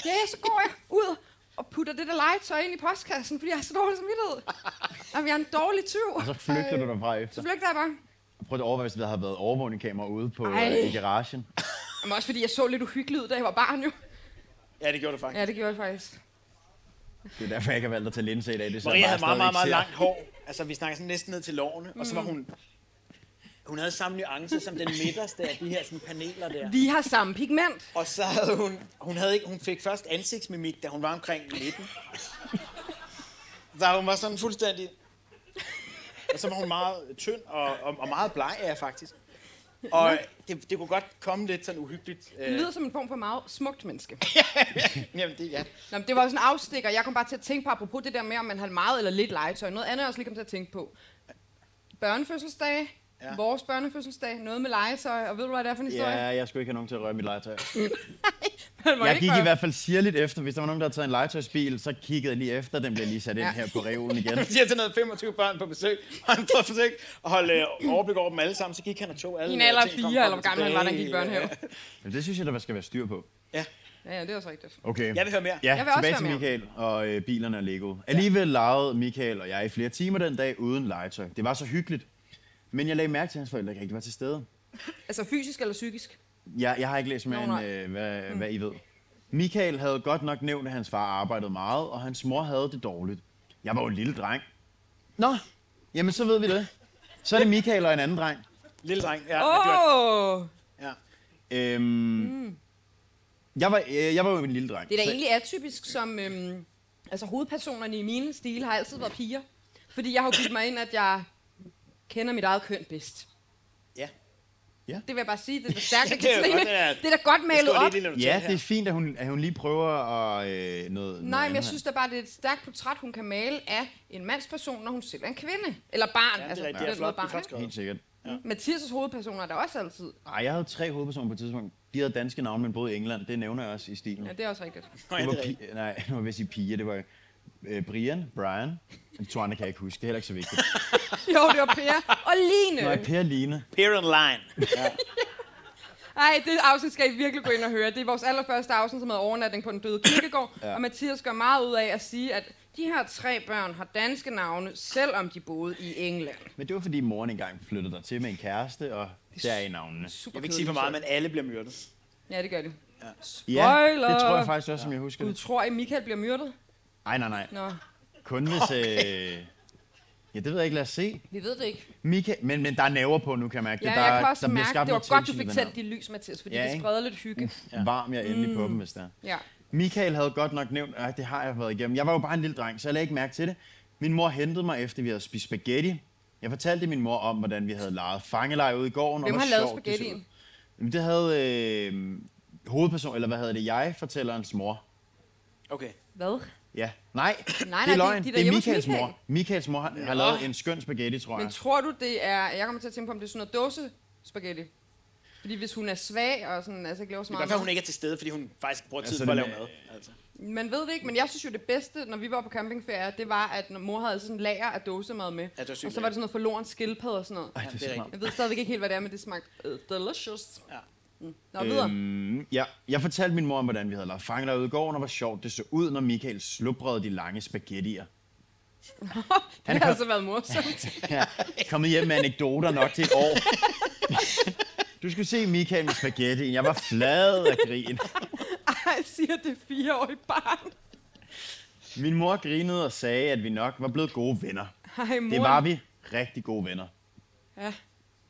Ja, ja, så går jeg ud og putter det der legetøj ind i postkassen, fordi jeg har så dårlig samvittighed. Jamen, jeg er en dårlig tyv. Altså- Og så flygtede du derfra efter. Så flygter jeg bare. Prøv at overveje, hvis der havde været overvågningskamera ude på, Ej. øh, i garagen. Men også fordi jeg så lidt uhyggelig ud, da jeg var barn jo. Ja, det gjorde du faktisk. Ja, det gjorde jeg faktisk. Det er derfor, jeg ikke har valgt at tage linse i dag. Det er så Maria jeg havde bare meget, meget, meget stadig langt hår. Altså, vi snakker sådan næsten ned til lårene. Og så var hun... Hun havde samme nuance som den midterste af de her sådan, paneler der. Vi har samme pigment. Og så havde hun... Hun, havde ikke, hun fik først ansigtsmimik, da hun var omkring 19. Så hun var sådan fuldstændig... Og så var hun meget tynd og, og, og meget bleg af, faktisk. Og det, det kunne godt komme lidt sådan uhyggeligt. Det Øh, lyder som en form for meget smukt menneske. jamen, det, ja. Nå, men det var sådan en afstikker. Jeg kom bare til at tænke på, apropos det der med, om man havde meget eller lidt legetøj. Noget andet, jeg også lige kom til at tænke på. Børnefødselsdage. Ja. Ja. Vores børnefødselsdag. Noget med legetøj. Og ved du, hvad det er for en ser- historie? Ja, jeg skulle ikke have nogen til at røre mit legetøj. Man må Jeg ikke gik i røre- hvert fald sirligt efter. Hvis der var nogen, der havde taget en legetøjsbil, så kiggede jeg lige efter. Den blev lige sat ind Ja. her på reolen igen. Han siger til noget 25 børn på besøg, og han prøvede forsøg at holde øh, overblik over dem alle sammen, så gik han og tog alle øh, I en alder af ting frem fire, og eller hvor gammel han var, da han gik i tilbage. børnehave. Men det synes jeg, der skal være styr på. Ja, Ja, ja, det er også rigtigt. Okay. jeg vil høre mere. Ja, Jeg jeg vil også tilbage til være med. Michael og øh, bilerne og Lego. Alligevel legede Michael og jeg i flere timer den dag uden legetøj. Det var så hyggeligt. Men jeg lagde mærke til, at hans forældre ikke rigtig var til stede. Altså fysisk eller psykisk? Jeg, jeg har ikke læst mere Nå, end, nej. øh, hvad, mm. hvad I ved. Michael havde godt nok nævnt, at hans far arbejdede meget, og hans mor havde det dårligt. Jeg var jo en lille dreng. Nå, jamen så ved vi det. Så er det Michael og en anden dreng. Lille dreng. Ja, Åh! men det var- Oh, ja. Øhm, mm. jeg, var, øh, jeg var jo en lille dreng. det er da så- egentlig atypisk, som øhm, altså, hovedpersonerne i mine stile har altid været piger. Fordi jeg har jo givet mig ind, at jeg kender mit eget køn bedst. ja. Det vil jeg bare sige, det er da stærkt, Ja, det, det, det er jo godt, det er, er- det er da godt Det malet står op. lidt i, når du Ja, taler det er her. fint, at hun, at hun lige prøver at... Øh, noget, Nej, men jeg synes da bare, det er et stærkt portræt, hun kan male af en mandsperson, når hun selv er en kvinde. Eller barn. Ja, det altså, er på rigtigt. Det den er måde flot, det er flot barn. skrevet. Helt sikkert. ikke? Mathias' hovedpersoner er der også altid. Ej, jeg havde tre hovedpersoner på et tidspunkt. De havde danske navne, men boede i England. Det nævner jeg også i stilen. Ja, det er også rigtigt. Nå, ja, Det det var er rigtigt. pi- nej, nu var jeg ved at sige piger. Det var øh, Brian, Brian. De to andre kan jeg ikke huske. Det er heller ikke så vigtigt. Jo, det var Per og Line. Nej, Per Line. Peer and line. Ej, det afsnit skal I virkelig gå ind og høre. Det er vores allerførste afsnit, som hedder Overnatning på den døde kirkegård. ja. Og Mathias gør meget ud af at sige, at de her tre børn har danske navne, selvom de boede i England. Men det var fordi moren engang flyttede der til med en kæreste, og der er i navnene. Super Jeg vil ikke sige for meget, men alle bliver myrdet. Ja, det gør de. Ja, Spoiler! det tror jeg faktisk også, som jeg husker Du det. tror, at Michael bliver myrdet? Nej, nej, nej. Nå, Kun hvis... Øh... Ja, det ved jeg ikke. Lad os se. vi ved det ikke. Mika... Men, men der er næver på nu, kan jeg mærke. Ja, der, jeg kan også der bliver mærke, skabt det var noget godt, du tension i fik den tændt her. de lys, Mathias, fordi Ja, det ikke? spreder lidt hygge. Varm jeg endelig på dem, Mm. hvis der. Ja. Michael havde godt nok nævnt, at det har jeg været igennem. Jeg var jo bare en lille dreng, så jeg lagde ikke mærke til det. Min mor hentede mig, efter vi havde spist spaghetti. Jeg fortalte min mor om, hvordan vi havde leget fangeleje ude i gården. Hvem og hvor har lavet sjovt det så ud. spaghettien? Jamen, det havde øh, hovedperson, eller hvad hedder det, jeg, fortællerens mor. Okay. Hvad? Ja. Nej, nej, det det- er løgn. de er det er derhjemme hos Michaels Michael. mor. Michaels mor har, har lavet en skøn spaghetti, tror Men jeg. tror du, det er... Jeg kommer til at tænke på, om det er sådan noget dåse spaghetti. Fordi hvis hun er svag og sådan, altså ikke laver så Det er meget... godt, at hun ikke er til stede, fordi hun faktisk bruger tid så på at det lave mad. med- Altså. mad. Man ved det ikke, men jeg synes jo, det bedste, når vi var på campingferie, det var, at når mor havde sådan en lager af dåsemad med. det var sygt og så var lækkert. det sådan noget forloren skildpadde og sådan noget. Ej, det er smart. Jeg ved stadigvæk ikke helt, hvad det er, men det smagte øh, delicious. Ja. Mm. Nå, videre. Mm, ja, jeg fortalte min mor om, hvordan vi havde lavet fangeleje ude i gården, og hvor sjovt det så ud, når Michael slubrede de lange spaghettier. det har altså været morsomt. Ja, kommet hjem med anekdoter nok til et år. Du skulle se Michael med spaghetti. Jeg var flad af grin. Ej, siger det fireårige barn. Min mor grinede og sagde, at vi nok var blevet gode venner. Ej, mor. Det var vi. Rigtig gode venner. Ja.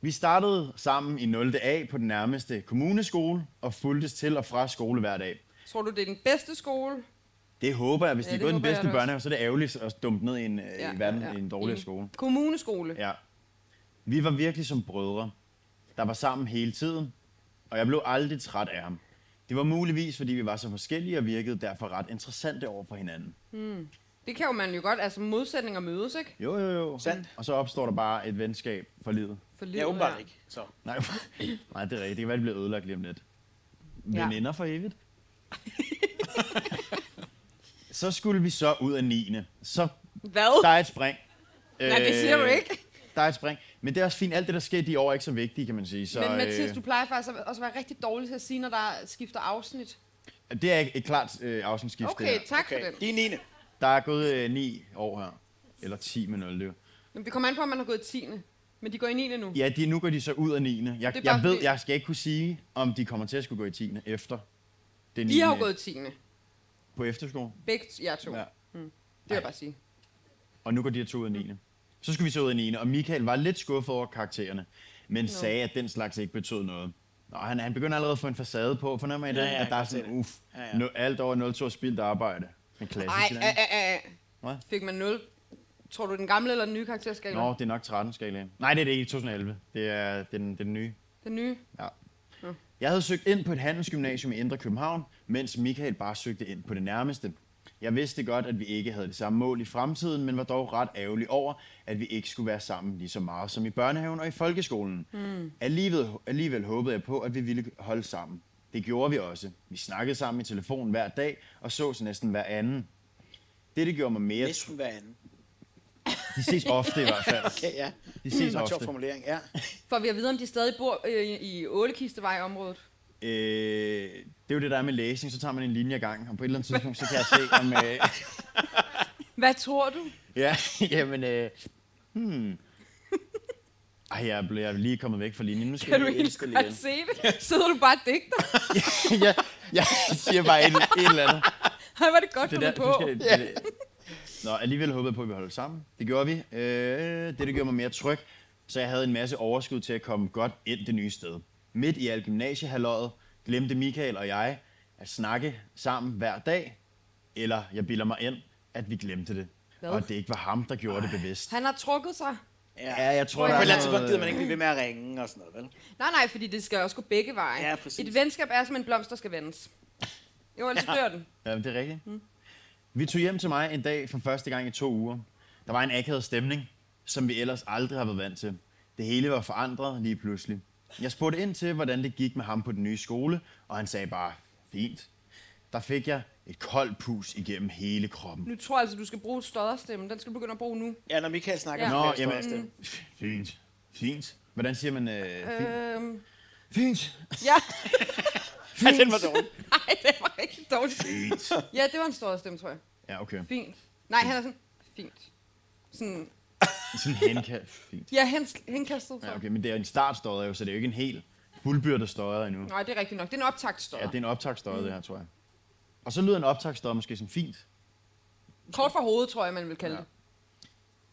Vi startede sammen i 0. A på den nærmeste kommuneskole og fuldtes til og fra skole hver dag. Tror du, det er den bedste skole? Det håber jeg. Hvis Ja, de er det gået den håber jeg da bedste også. børnehave, så er det ærgerligt at dumpe ned i en, ja, i verden, ja, ja. i en dårligere Enig. skole. Kommuneskole. Ja. Vi var virkelig som brødre. der var sammen hele tiden, og jeg blev aldrig træt af ham. Det var muligvis, fordi vi var så forskellige og virkede derfor ret interessante over for hinanden. Det kan jo man jo godt, altså modsætninger mødes, ikke? Jo, jo, jo. Sandt. Og så opstår der bare et venskab for livet. For Ja, livet åbenbart her. ikke. Så. Nej, nej, det er rigtigt. Det kan være, det bliver ødelagt lige om lidt. Ja. Veninder for evigt. så skulle vi så ud af 9. Så Hvad? der er et spring. Øh, Nej, det siger du ikke. Der er et spring. Men det er også fint. Alt det, der sker i de år, er ikke så vigtigt, kan man sige. Så, øh, Men Mathias, du plejer faktisk at- også at være rigtig dårlig til at sige, når der skifter afsnit. øh, det er et, et klart øh, afsnitskift. det Okay, her. tak for Okay. den. Det er 9. Der er gået øh, 9 år her. Eller 10 med 0, det er jo. Men det kommer an på, at man har gået 10. Men de går i 9. nu. Ja, de, nu går de så ud af 9. Jeg, bare jeg ved, fordi- jeg skal ikke kunne sige, om de kommer til at skulle gå i 10. efter det 9. I har jo gået 10. på efterskole. Begge t- jer to. Ja. Ja. Det vil jeg bare sige. Og nu går de her to ud af 9. Så skulle vi så ud af 9. Og Michael var lidt skuffet over karaktererne, men no. sagde, at den slags ikke betød noget. Og han, han begynder allerede at få en facade på, fornemmer I det? Ja, ja, at der er jeg sådan, kan se uff, ja, Ja, ja. ja. No, alt over 0,2 spildt arbejde. En Ej, klassisk. ej, Ej, ej, ej, Hvad? ej. Fik man 0? Tror du den gamle eller den nye karakterskala? Nå, det er nok 13 skalaen. Nej, det er det ikke. 2011. Det er den, den nye. Den nye? Ja. Jeg havde søgt ind på et handelsgymnasium i Indre København, mens Michael bare søgte ind på det nærmeste. Jeg vidste godt, at vi ikke havde det samme mål i fremtiden, men var dog ret ærgerlig over, at vi ikke skulle være sammen lige så meget som i børnehaven og i folkeskolen. Hmm. Mm. Alligevel, alligevel håbede jeg på, at vi ville holde sammen. Det gjorde vi også. Vi snakkede sammen i telefonen hver dag og sås næsten hver anden. Dette gjorde mig mere... Næsten hver anden. De ses ofte i hvert fald. Ja, ja. De ses Det var en sjov ofte. formulering, ja. For vi at vide, om de stadig bor øh, i Ålekistevej-området. øh, det er jo det, der er med læsning. Så tager man en linje ad gangen, og på et eller andet tidspunkt, så kan jeg se, om... Øh, Hvad tror du? ja, jamen... Øh, hmm. Ej, jeg er, blevet, jeg er lige kommet væk fra linjen. Nu skal Kan du jeg lige helt indstille igen. godt se det? Sidder du bare og digter? ja, jeg siger bare et, et eller andet. Ej, var det godt Det fundet der, du skal, på. det, det. Nå, alligevel håbede jeg på, at vi holdt sammen. Det gjorde vi. Øh, det, det gjorde mig mere tryg, så jeg havde en masse overskud til at komme godt ind det nye sted. Midt i al gymnasiehalløjet glemte Michael og jeg at snakke sammen hver dag, eller jeg bilder mig ind, at vi glemte det. Hvad? Og at det ikke var ham, der gjorde det bevidst. Han har trukket sig. Ja, jeg tror, På der et eller andet er tidspunkt gider noget... man ikke blive ved med at ringe og sådan noget, vel? Nej, nej, fordi det skal også gå begge veje. Ja, præcis. Et venskab er som en blomst, der skal vendes. Jo, ellers ja. dør den. Ja, men det er rigtigt. Mm. Vi tog hjem til mig en dag for første gang i to uger. Der var en akavet stemning, som vi ellers aldrig har været vant til. Det hele var forandret lige pludselig. Jeg spurgte ind til, hvordan det gik med ham på den nye skole, og han sagde bare, fint. Der fik jeg et koldt pus igennem hele kroppen. Nu tror jeg altså, du skal bruge stodderstemme. Den skal du begynde at bruge nu. Ja, når Michael snakker Ja. ja. Nå, jamen, fint, fint. Hvordan siger man øh, fint? Øhm, Fint, ja, Ja, den var dårlig. nej, det var rigtig dårligt. fint. Ja, det var en stodderstemme, tror jeg. Ja, okay. Fint. Nej, han er sådan, fint. Sådan, Sådan henka... Fint. ja, hens- henkastet, tror Ja, jeg. okay, men det er en startstøjer jo, så det er jo ikke en helt fuldbyrdet støjer endnu. Nej, det er rigtigt nok. Det er en Ja, optagtstodder. det er en optagsstøj, mm. det her, tror jeg. Og så lyder en optagsstøj måske sådan fint. Kort fra hovedet, tror jeg, man vil kalde det.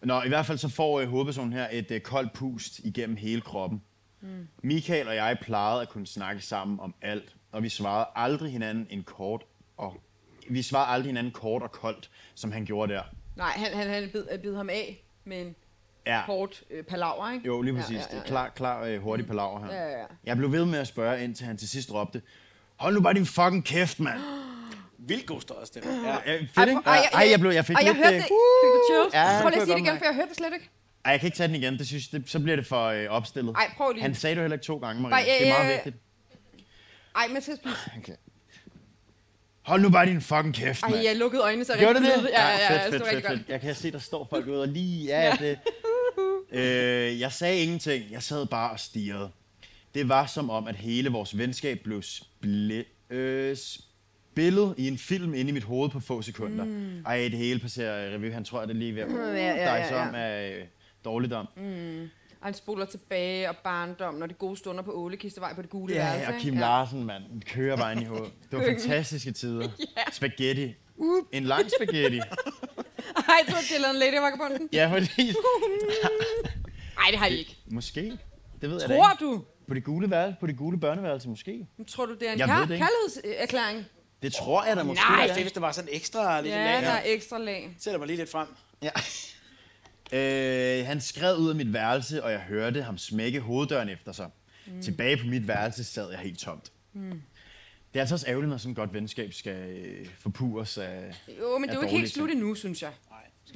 Nå, i hvert fald så får øh, hovedpersonen her et øh, koldt pust igennem hele kroppen. Mm. Michael og jeg plejede at kunne snakke sammen om alt, og vi svarede aldrig hinanden en kort og vi svarede aldrig hinanden kort og koldt, som han gjorde der. Nej, han, han, han bid, bid ham af med en Ja, kort øh, palaver, ikke? jo, lige præcis. Ja, ja, ja. Det er klar, klar øh, hurtig palaver her. Ja, ja, ja. Jeg blev ved med at spørge, indtil han til sidst råbte, Hold nu bare din fucking kæft, mand! Vildt god større stemme. Ja. Ja, fedt, Ej, ikke? prøv- ej, jeg- Ej, jeg, blev, jeg fik og jeg lidt... hørte øh, det. Fik du chills? Ja, det prøv kunne lige at sige jeg det godt igen, for jeg hørte det slet ikke. Ej, jeg kan ikke tage den igen. Det synes, det, så bliver det for øh, opstillet. Ej, prøv lige. Han sagde det jo heller ikke to gange, Maria. Bare, det er øh, meget øh, vigtigt. Ej, men til please. Okay. Hold nu bare din fucking kæft, Ej, mand. jeg lukkede øjnene så Gjorde rigtig det det? bløde. Ja, ja, fedt, ja, det fedt, var rigtig fedt, godt. fedt. Jeg kan se, der står folk ude og lige... Ja, det. Øh, jeg sagde ingenting. Jeg sad bare og stirrede. Det var som om, at hele vores venskab blev spli- øh, spillet i en film inde i mit hoved på få sekunder. Mm. Ej, det hele passerer øh, revy. Han tror, at det er lige ved at uh, ja, ja, dig ja. som af øh, dårligdom. Og han spoler tilbage og barndom, når de gode stunder på Ålekistevej på det gule Ja, værelse. og ikke? Kim ja. Larsen, mand. Den Kører bare ind i hovedet. Det var fantastiske tider. Spaghetti. Uh, en lang spaghetti. Ej, du har lavet en lady vagabunden. ja, fordi... Uh. Nej, det har I ikke. Måske. Det ved jeg da Tror ikke. du? På det gule, værelse, på det gule børneværelse, måske. Men Tror du, det er en Jeg ved kær- det ikke. kærlighedserklæring? Det tror jeg da måske. Det Nej. var fedt, hvis det var sådan ekstra lidt Ja, ja, der lag. er ekstra lag. Sætter mig lige lidt frem. Ja. Øh, han skred ud af mit værelse, og jeg hørte ham smække hoveddøren efter sig. Mm. Tilbage på mit værelse sad jeg helt tomt. Mm. Det er altså også ærgerligt, når sådan et godt venskab skal øh, forpures af... Jo, men det er jo ikke dårlige helt slut ting. endnu, synes jeg.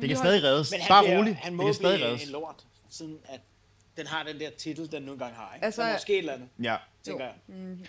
Det kan stadig reddes. Men han Bare bliver, roligt. Han Det må kan stadig blive reddes. en lort, siden at den har den der titel, den nu engang har. Ikke? Altså- Altså, så måske et eller andet, Ja. tænker Jo. Mm. jeg.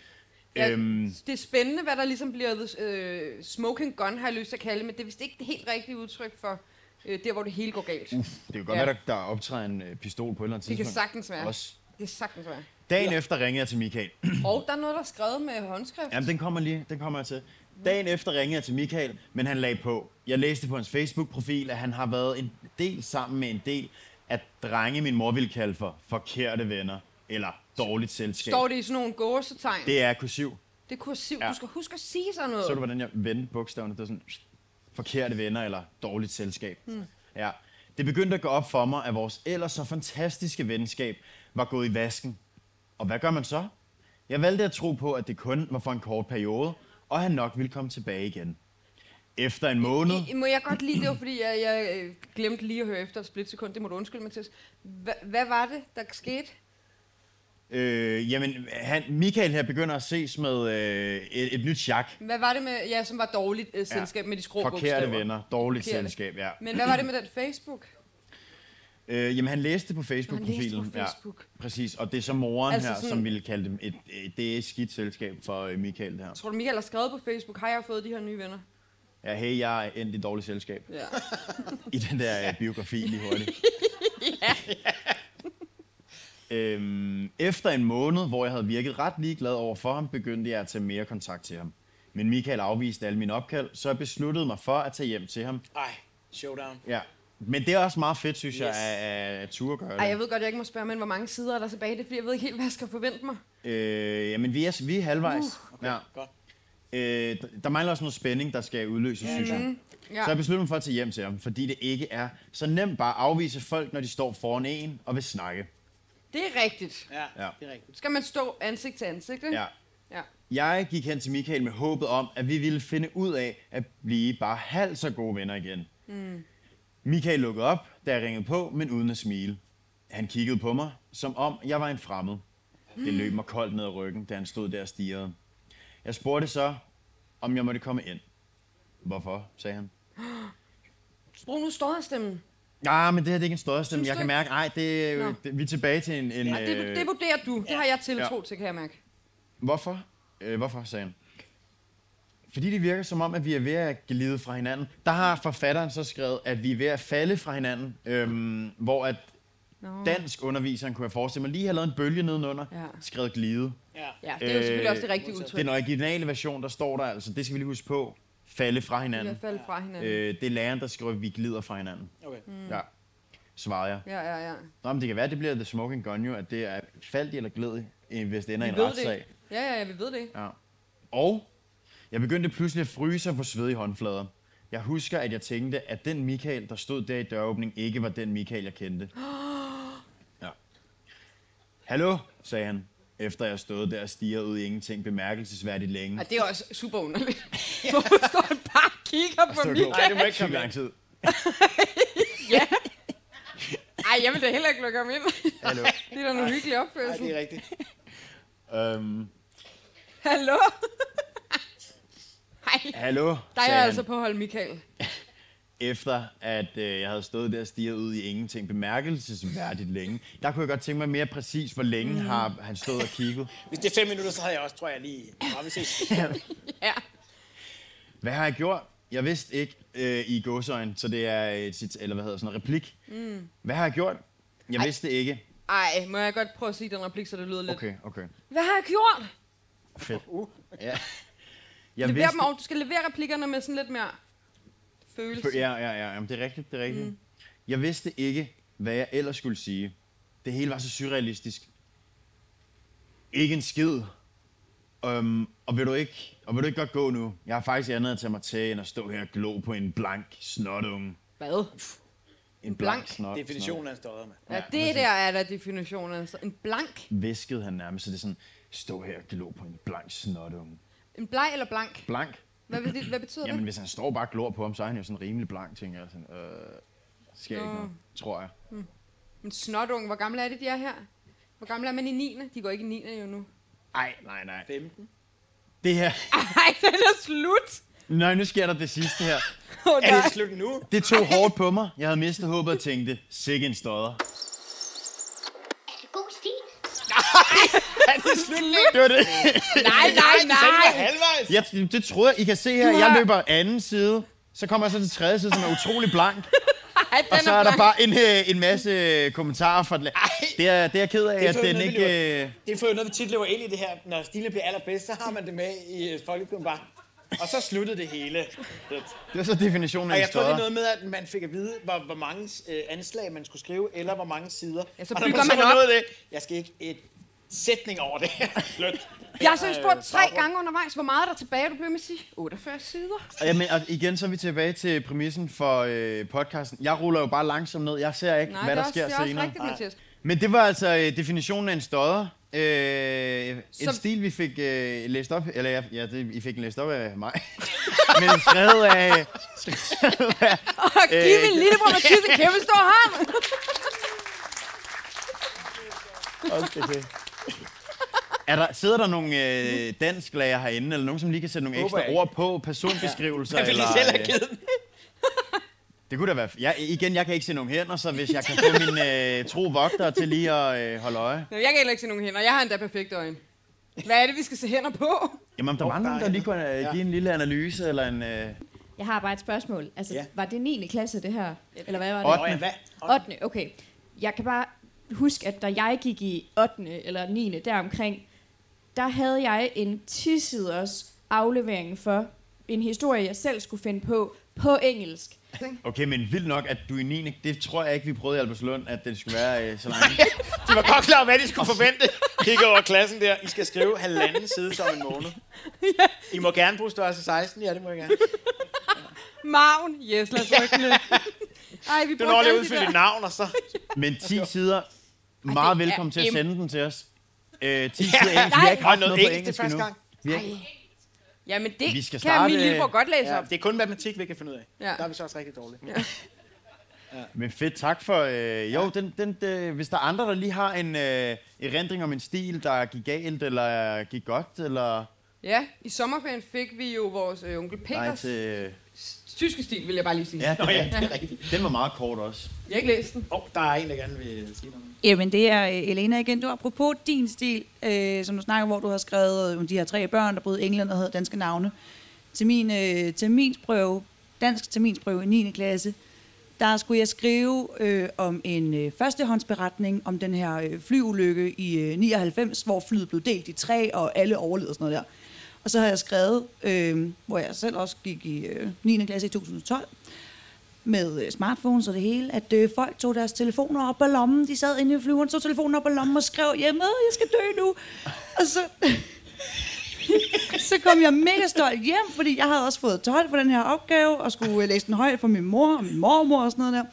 Ja. Øhm, Det er spændende, hvad der ligesom bliver øh, smoking gun, har jeg lyst til at kalde det, men det er vist ikke det helt rigtige udtryk for øh, der, hvor det hele går galt. uff, det kan godt Ja. være, der, der optræder en øh, pistol på et eller andet Det kan tidspunkt. sagtens være. Også. Det kan sagtens være. Dagen efter ringede jeg til Michael. Og der er noget, der er skrevet med håndskrift. Jamen, den kommer lige. Den kommer jeg til. Dagen efter ringede jeg til Michael, men han lagde på. Jeg læste på hans Facebook-profil, at han har været en del sammen med en del af drenge, min mor ville kalde for forkerte venner eller dårligt selskab. Står det i sådan nogle gåsetegn? Det, Det er kursiv. det er kursivt. Ja. Du skal huske at sige sådan noget. Så du, hvordan jeg vendte bogstaverne? Det var sådan, forkerte venner eller dårligt selskab. Hmm. Mm. Ja. Det begyndte at gå op for mig, at vores ellers så fantastiske venskab var gået i vasken. Og hvad gør man så? Jeg valgte at tro på, at det kun var for en kort periode, og han nok ville komme tilbage igen. Efter en måned... I, må jeg godt lide det, var, fordi jeg, jeg øh, glemte lige at høre efter et splitsekund. Det må du undskylde, Mathias. Hva, hvad var det, der skete? Øh, jamen, han, Michael her begynder at ses med øh, et, et nyt chak. Hvad var det med, ja, som var dårligt øh, selskab med de skrå Forkerte bogstaver? venner, dårligt Forkerte. selskab, ja. Men hvad var det med den Facebook? Øh, jamen, han læste på Han Facebook-profilen. læste på Facebook. Ja, præcis, og det er så moren Altså altså her, sådan- sådan... som ville kalde dem et, et, det er et skidt selskab for øh, Michael det her. Tror du, Michael har skrevet på Facebook, har jeg fået de her nye venner? Ja, hey, jeg er endt i dårligt selskab. Ja. I den der øh, biografi lige hurtigt. ja. øhm, efter en måned, hvor jeg havde virket ret ligeglad over for ham, begyndte jeg at tage mere kontakt til ham. Men Michael afviste alle mine opkald, så jeg besluttede mig for at tage hjem til ham. Ej, showdown. Ja. Men det er også meget fedt, synes yes. jeg, Yes. at, at ture gøre det. Ej, jeg ved godt, jeg ikke må spørge, men hvor mange sider er der tilbage? Det er, fordi jeg ved ikke helt, hvad jeg skal forvente mig. Øh, jamen, vi er, vi er halvvejs. Uh, okay. ja. Godt. Øh, d- der mangler også noget spænding, der skal udløses, synes jeg. Ja. Så jeg besluttede mig for at tage hjem til ham, fordi det ikke er så nemt bare at afvise folk, når de står foran en og vil snakke. Det er rigtigt. Ja, Ja. ja, det er rigtigt. Skal man stå ansigt til ansigt, ikke? Ja. ja. Jeg gik hen til Michael med håbet om, at vi ville finde ud af at blive bare halvt så gode venner igen. Mm. Michael lukkede op, da jeg ringede på, men uden at smile. Han kiggede på mig, som om jeg var en fremmed. Det løb mig koldt ned ad ryggen, da han stod der og stirrede. Jeg spurgte så, om jeg måtte komme ind. Hvorfor, sagde han. Brug nu stodderstemmen. Ja, Ah, men det her det er ikke en stodderstemme. Synes Jeg du kan mærke, ikke? ej, det, Nå. det, vi er tilbage til en... en Ja, det, det vurderer du. Det har jeg tiltro ja. til, kan jeg mærke. Hvorfor? Øh, hvorfor, sagde han. Fordi det virker som om, at vi er ved at glide fra hinanden. Der har forfatteren så skrevet, at vi er ved at falde fra hinanden, øhm, hvor at Nå. dansk underviseren, kunne jeg forestille mig, lige har lavet en bølge nedenunder, Ja. ja. skrevet glide. Ja. Ja, det er jo selvfølgelig Øh, også det rigtige modtaget. udtryk. Den originale version, der står der altså, det skal vi lige huske på, falde fra I hinanden. hvert fald fra hinanden. Øh, det er læreren, der skriver, at vi glider fra hinanden. Okay. Mm. Ja, svarede jeg. Ja, ja, ja. Nå, men det kan være, det bliver The Smoking Gun jo, at det er faldt i eller gled, i, hvis det ender i Vi en ved det. retssag. ikke. Ja, ja, ja, vi ved det. ikke. Ja. Og jeg begyndte pludselig at fryse og få sved i håndflader. Jeg husker, at jeg tænkte, at den Michael, der stod der i døråbningen, ikke var den Michael, jeg kendte. Ja. Hallo, sagde han, efter jeg stod der og stirrede ud i ingenting bemærkelsesværdigt længe. Og det er også super underligt. Hvorfor står han bare og kigger på Så Michael? Nej, det må ikke komme lang tid. Ja. Ej, jeg vil da heller ikke lukke ham ind. Hallo. Det er da en hyggelig Ej, opførsel. det er rigtigt. Øhm, Hallo? Ej, hallo, der er sagde jeg han. altså på hold, Michael. efter at øh, jeg havde stået der og stirret ud i ingenting bemærkelsesværdigt længe, der kunne jeg godt tænke mig mere præcis, hvor længe mm. har han stået og kigget. Hvis det er fem minutter, så havde jeg også, tror jeg, lige... Nå, vi ses. Ja. Hvad har jeg gjort? Jeg vidste ikke øh, i gåsøjne, så det er et sit, eller hvad hedder sådan en replik. Mm. Hvad har jeg gjort? Jeg Ej. vidste det ikke. Ej, må jeg godt prøve at sige den replik, så det lyder lidt. Okay, okay. Hvad har jeg gjort? Fedt. Uh. Ja. Jeg Lever dem over. Du skal levere replikkerne med sådan lidt mere følelse. Ja, ja, ja. Jamen, det er rigtigt, det er rigtigt. Mm. Jeg vidste ikke, hvad jeg ellers skulle sige. Det hele var så surrealistisk. Ikke en skid. Um, og, vil du ikke, og vil du ikke godt gå nu? Jeg har faktisk andet at tage mig til, end at stå her og glo på en blank snotunge. Hvad? En blank? snot. Definitionen af en stodder, mand. Ja, det der er der definitionen. Altså. En blank. Viskede han nærmest, så det er sådan, stå her og glo på en blank snotunge. En bleg eller blank? Blank? Hvad, vil det, hvad betyder Jamen, det? hvis han står og bare og glor på ham, så er han jo sådan rimelig blank, tænker jeg. Sådan, øh, sker ikke Nå. noget, tror jeg. En snotunge. Hvor gamle er det, de er her? Hvor gammel er man i 9. De går ikke i 9. jo nu. Nej, nej, nej. 15. Det her... Ej, den er slut. Nej, nu sker der det sidste her. Oh, Er det slut nu? Det tog hårdt på mig. Jeg havde mistet håbet og tænkte, sikke en stodder. Er det god stil? Er det slut nu? Det var det. nej, nej, nej. Halvvejs. Jeg, det troede jeg. I kan se her, Du har- jeg løber anden side. Så kommer jeg så til tredje side, som er utrolig blank. Ej, Og den så er der blank. bare en, øh, en masse kommentarer fra den. Det er, det er jeg ked af, Det er at for den noget, vi ikke... løber. øh, Det er for noget, vi tit løber ind i det her. Når Stine bliver allerbedst, så har man det med i øh, folkeklubben bare. Og så sluttede det hele. Det var så definitionen af Og en jeg tror, det er stodder. noget med, at man fik at vide, hvor, hvor mange øh, anslag man skulle skrive, eller hvor mange sider. Ja, så og når bygger man så var op. nået det, jeg skal ikke et sætning over det her. Slut. Jeg har så spurgt tre baggrund. gange undervejs, hvor meget er der tilbage, du blev med at sige 48 sider. Og Jamen, og igen så er vi tilbage til præmissen for øh, podcasten. Jeg ruller jo bare langsomt ned. Jeg ser ikke, Nej, hvad det er der også, sker det er også senere. rigtigt, Mathias. Men det var altså øh, definitionen af en stodder. Øh, en Som- stil, vi fik øh, læst op, eller ja, ja det, I fik den læst op af mig, men skrevet af, skrevet af Og giv Øh, min lille bror Mathias en kæmpe stor hånd. er der, sidder der nogle øh, dansklærer herinde, eller nogen, som lige kan sætte nogle Håber ekstra jeg ord på, personbeskrivelser? Jeg ville eller, selv have øh, givet den. Det kunne da være... Jeg, igen, jeg kan ikke se nogen hænder, så hvis jeg kan få min øh, tro vogter til lige at øh, holde øje. Nå, jeg kan heller ikke se nogen hænder. Jeg har endda perfekte øjne. Hvad er det, vi skal se hænder på? Jamen, der var nogen, der lige kunne øh, give en lille analyse, eller en... Øh, Jeg har bare et spørgsmål. Altså, Ja. ja. var det 9. klasse, det her? Eller hvad var det? Nå ja, hvad? 8. okay. Jeg kan bare huske, at da jeg gik i 8. eller 9. deromkring, der havde jeg en 10-siders aflevering for en historie, jeg selv skulle finde på på engelsk. Okay, men vildt nok, at du er i 9. Det tror jeg ikke, vi prøvede i Albertslund, at den skulle være øh, så lang. De var godt klar over, hvad de skulle forvente. Kigge over klassen der. I skal skrive halvanden side som en måned. I må gerne bruge størrelse 16. altså Ja, det må jeg gerne. Maven. Yes, lad os rykke den lidt. Ej, vi Du når bruger lige at alle de udfylde dit der. navn, og så... Men 10 sider. Meget det er velkommen til at em- sende den til os. Øh, 10 sider engelsk. Vi har ikke Og haft noget noget på engelsk til engelsk første endnu. gang. Vi har ikke- Ja, men det Vi skal kan starte- øh, min lillebror godt læse Ja, op. det er kun matematik, vi kan finde ud af. Ja. Der er vi så også rigtig dårlige. Men fedt, tak for... Øh, jo, den, den, øh, hvis der er andre, der lige har en øh, erindring om en stil, der gik galt, eller gik godt, eller... Ja, i sommerferien fik vi jo vores øh, onkel Nej, Peters til... Øh, tyske stil, vil jeg bare lige sige. ja, Nå ja, den, det er rigtigt. den var meget kort også. Jeg har ikke læst den. Åh, oh, der er en, der gerne vil sige noget. Jamen, det er øh, Elena igen. Du apropos din stil, øh, som du snakker, hvor du har skrevet øh, om de her tre børn, der boede i England og havde danske navne. Til min øh, terminsprøve, dansk terminsprøve i 9. klasse, der skulle jeg skrive øh, om en øh, førstehåndsberetning om den her øh, flyulykke i øh, 99, hvor flyet blev delt i tre, og alle overlevede og sådan noget der. Og så har jeg skrevet, øh, hvor jeg selv også gik i øh, 9. klasse i 2012, med øh, smartphones og det hele, at øh, folk tog deres telefoner op af lommen. De sad inde i flyveren, tog telefonen op af lommen og skrev, jamen, jeg skal dø nu. Og så, så kom jeg mega stolt hjem, fordi jeg havde også fået 12 på den her opgave, og skulle øh, læse den højt for min mor og min mormor og sådan noget der.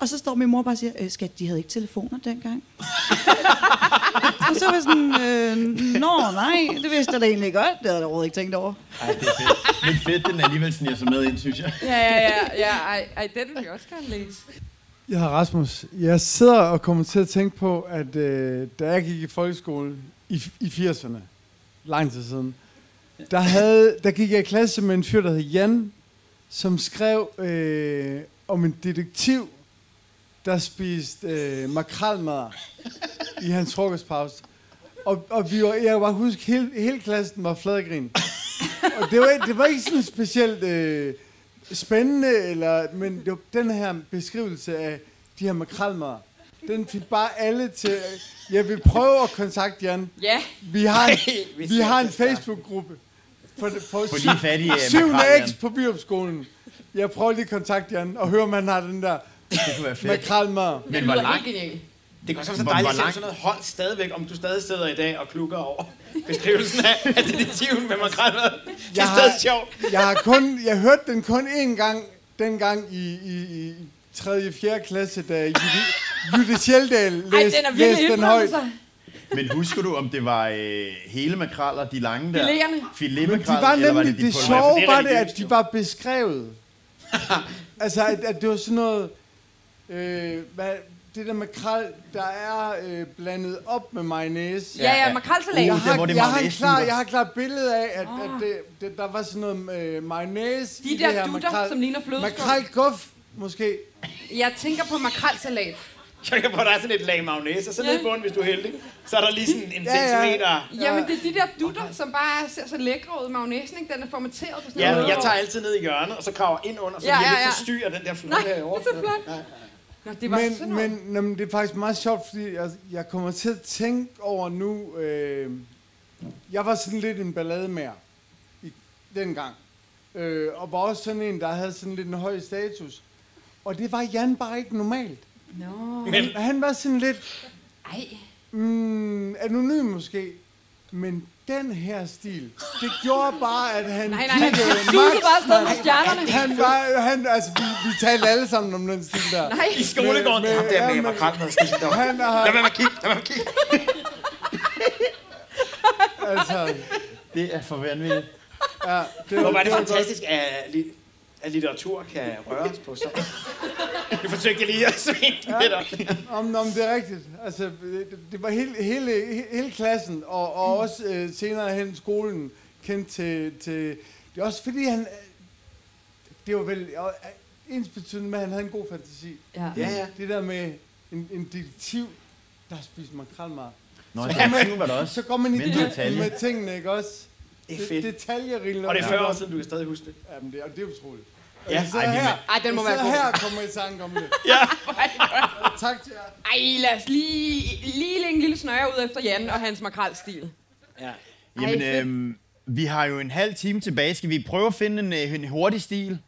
Og så står min mor bare og siger, øh, skat, de havde ikke telefoner dengang. og så var jeg sådan, øh, nå nej, det vidste jeg da egentlig godt. Det havde jeg da overhovedet ikke tænkt over. Ej, det er fedt. Men fedt, den alligevel sniger sig med ind, synes jeg. Ja, ja, ja. ja ej, ej, den vil jeg også gerne læse. Jeg hedder Rasmus. Jeg sidder og kommer til at tænke på, at øh, da jeg gik i folkeskole i, i 80'erne, lang tid siden, der, havde, der gik jeg i klasse med en fyr, der hed Jan, som skrev øh, om en detektiv, der spiste øh, makralmad i hans frokostpause. Og, og vi var, jeg kan bare huske, hele, hele klassen var fladgrin. Og det var, det var ikke sådan specielt øh, spændende, eller, men det var den her beskrivelse af de her makralmader, den fik bare alle til... øh, Jeg vil prøve at kontakte Jan. Ja, Vi har en, Ej, vi vi har en ses der. Facebook-gruppe for, for, For syv, lige fattige øh, syvende makrel, X på Byrupskolen. Jeg prøver lige at kontakte Jan og høre, om han har den der Det kunne være fedt. makralmad. det Men hvor lyder lang, helt genialt. Det kan også være så Hvor- hvor dejligt at se langt- sådan noget hold stadigvæk, om du stadig sidder i dag og klukker over beskrivelsen af, af detektiven med makralmad. Det er har- stadig sjovt. Jeg, har kun, jeg hørte den kun én gang, dengang i, i, i 3. og 4. klasse, da Jytte- Jytte Sjeldal Ej, læste den er læste virkelig altså. den højt. indblandet sig. Men husker du, om det var øh, hele makraller, de lange der? Filererne. Men de var Filetmakraller, eller var nemlig, det de det pulver? sjove var det, religiøst, at jo. de var beskrevet. altså, at, at det var sådan noget... Øh, hvad, det der makrel, der er øh, blandet op med mayonnaise. Ja, ja, ja. makrelsalat. Jeg Uh, har, hvor det er jeg, har en mayonnaisen, klar, der- jeg har et klart billede af, at, at det, det, der var sådan noget øh, mayonnaise Ah. De i der det her dutter, makrel. som ligner flødeskum. Makrelguf, måske. Jeg tænker på makrelsalat. Jeg kan få, der er sådan et lag mayonnaise, og så ned i Ja. bunden, hvis du er heldig. Så er der lige sådan en Ja, ja. centimeter. Jamen, det er de der dutter, som bare ser så lækre ud. Magnesen, ikke? Den er formateret på sådan Ja, noget. jeg tager altid ned i hjørnet, og så kraver ind under, så Ja, ja, jeg ja, ja, ja. ikke forstyrrer den der flot Nej, det herovre. er så flot. Nå, det var sådan Men, noget. men, jamen, det er faktisk meget sjovt, fordi jeg, jeg kommer til at tænke over nu... Øh, jeg var sådan lidt en ballademager i, dengang. Øh, og var også sådan en, der havde sådan lidt en høj status. Og det var Jan bare ikke normalt. Nå. Men Han var sådan lidt... Ej. Mm, anonym måske, men den her stil, det gjorde bare, at han Nej, nej, nej. kiggede Jeg susede bare afsted med stjernerne. Han var, han, altså, vi, vi talte alle sammen om den stil der. Nej. i skolegården, Men- ham der ja, med men- makrelmadskin der. Han Lad har, være med at kigge, lad være med at kigge. altså, Det er for vanvittigt. ja, det Hvor var, var det fantastisk, at, li- at litteratur kan røre os på sådan. Nu forsøgte jeg lige at svinge ja. lidt op. om, om det er rigtigt. Altså, det, det var hele, hele, he- hele klassen, og, og Mm. også øh, senere hen skolen, kendt til, til... Det er også fordi, han... øh, Det var vel øh, ens betydende med, at han havde en god fantasi. Ja. Ja, ja. Det der med en, en detektiv, der har spist makrelmar. Nå, det var der også. Så går man i Mindre dybden detalje. med tingene, ikke også? Det er fedt. Detaljerigt. Og det er 40 år siden, du kan stadig huske det. Jamen, det er, det er utroligt. Ja. Så Ej, vi- her, Ej, den må så være god. her kommer I tanke om det. Tak til jer. Ej, lad os lige, lige lægge en lille snøre ud efter Jan og hans makrelstil. ja. Jamen, fedt. øhm, vi har jo en halv time tilbage. Skal vi prøve at finde en, øh, en hurtig stil?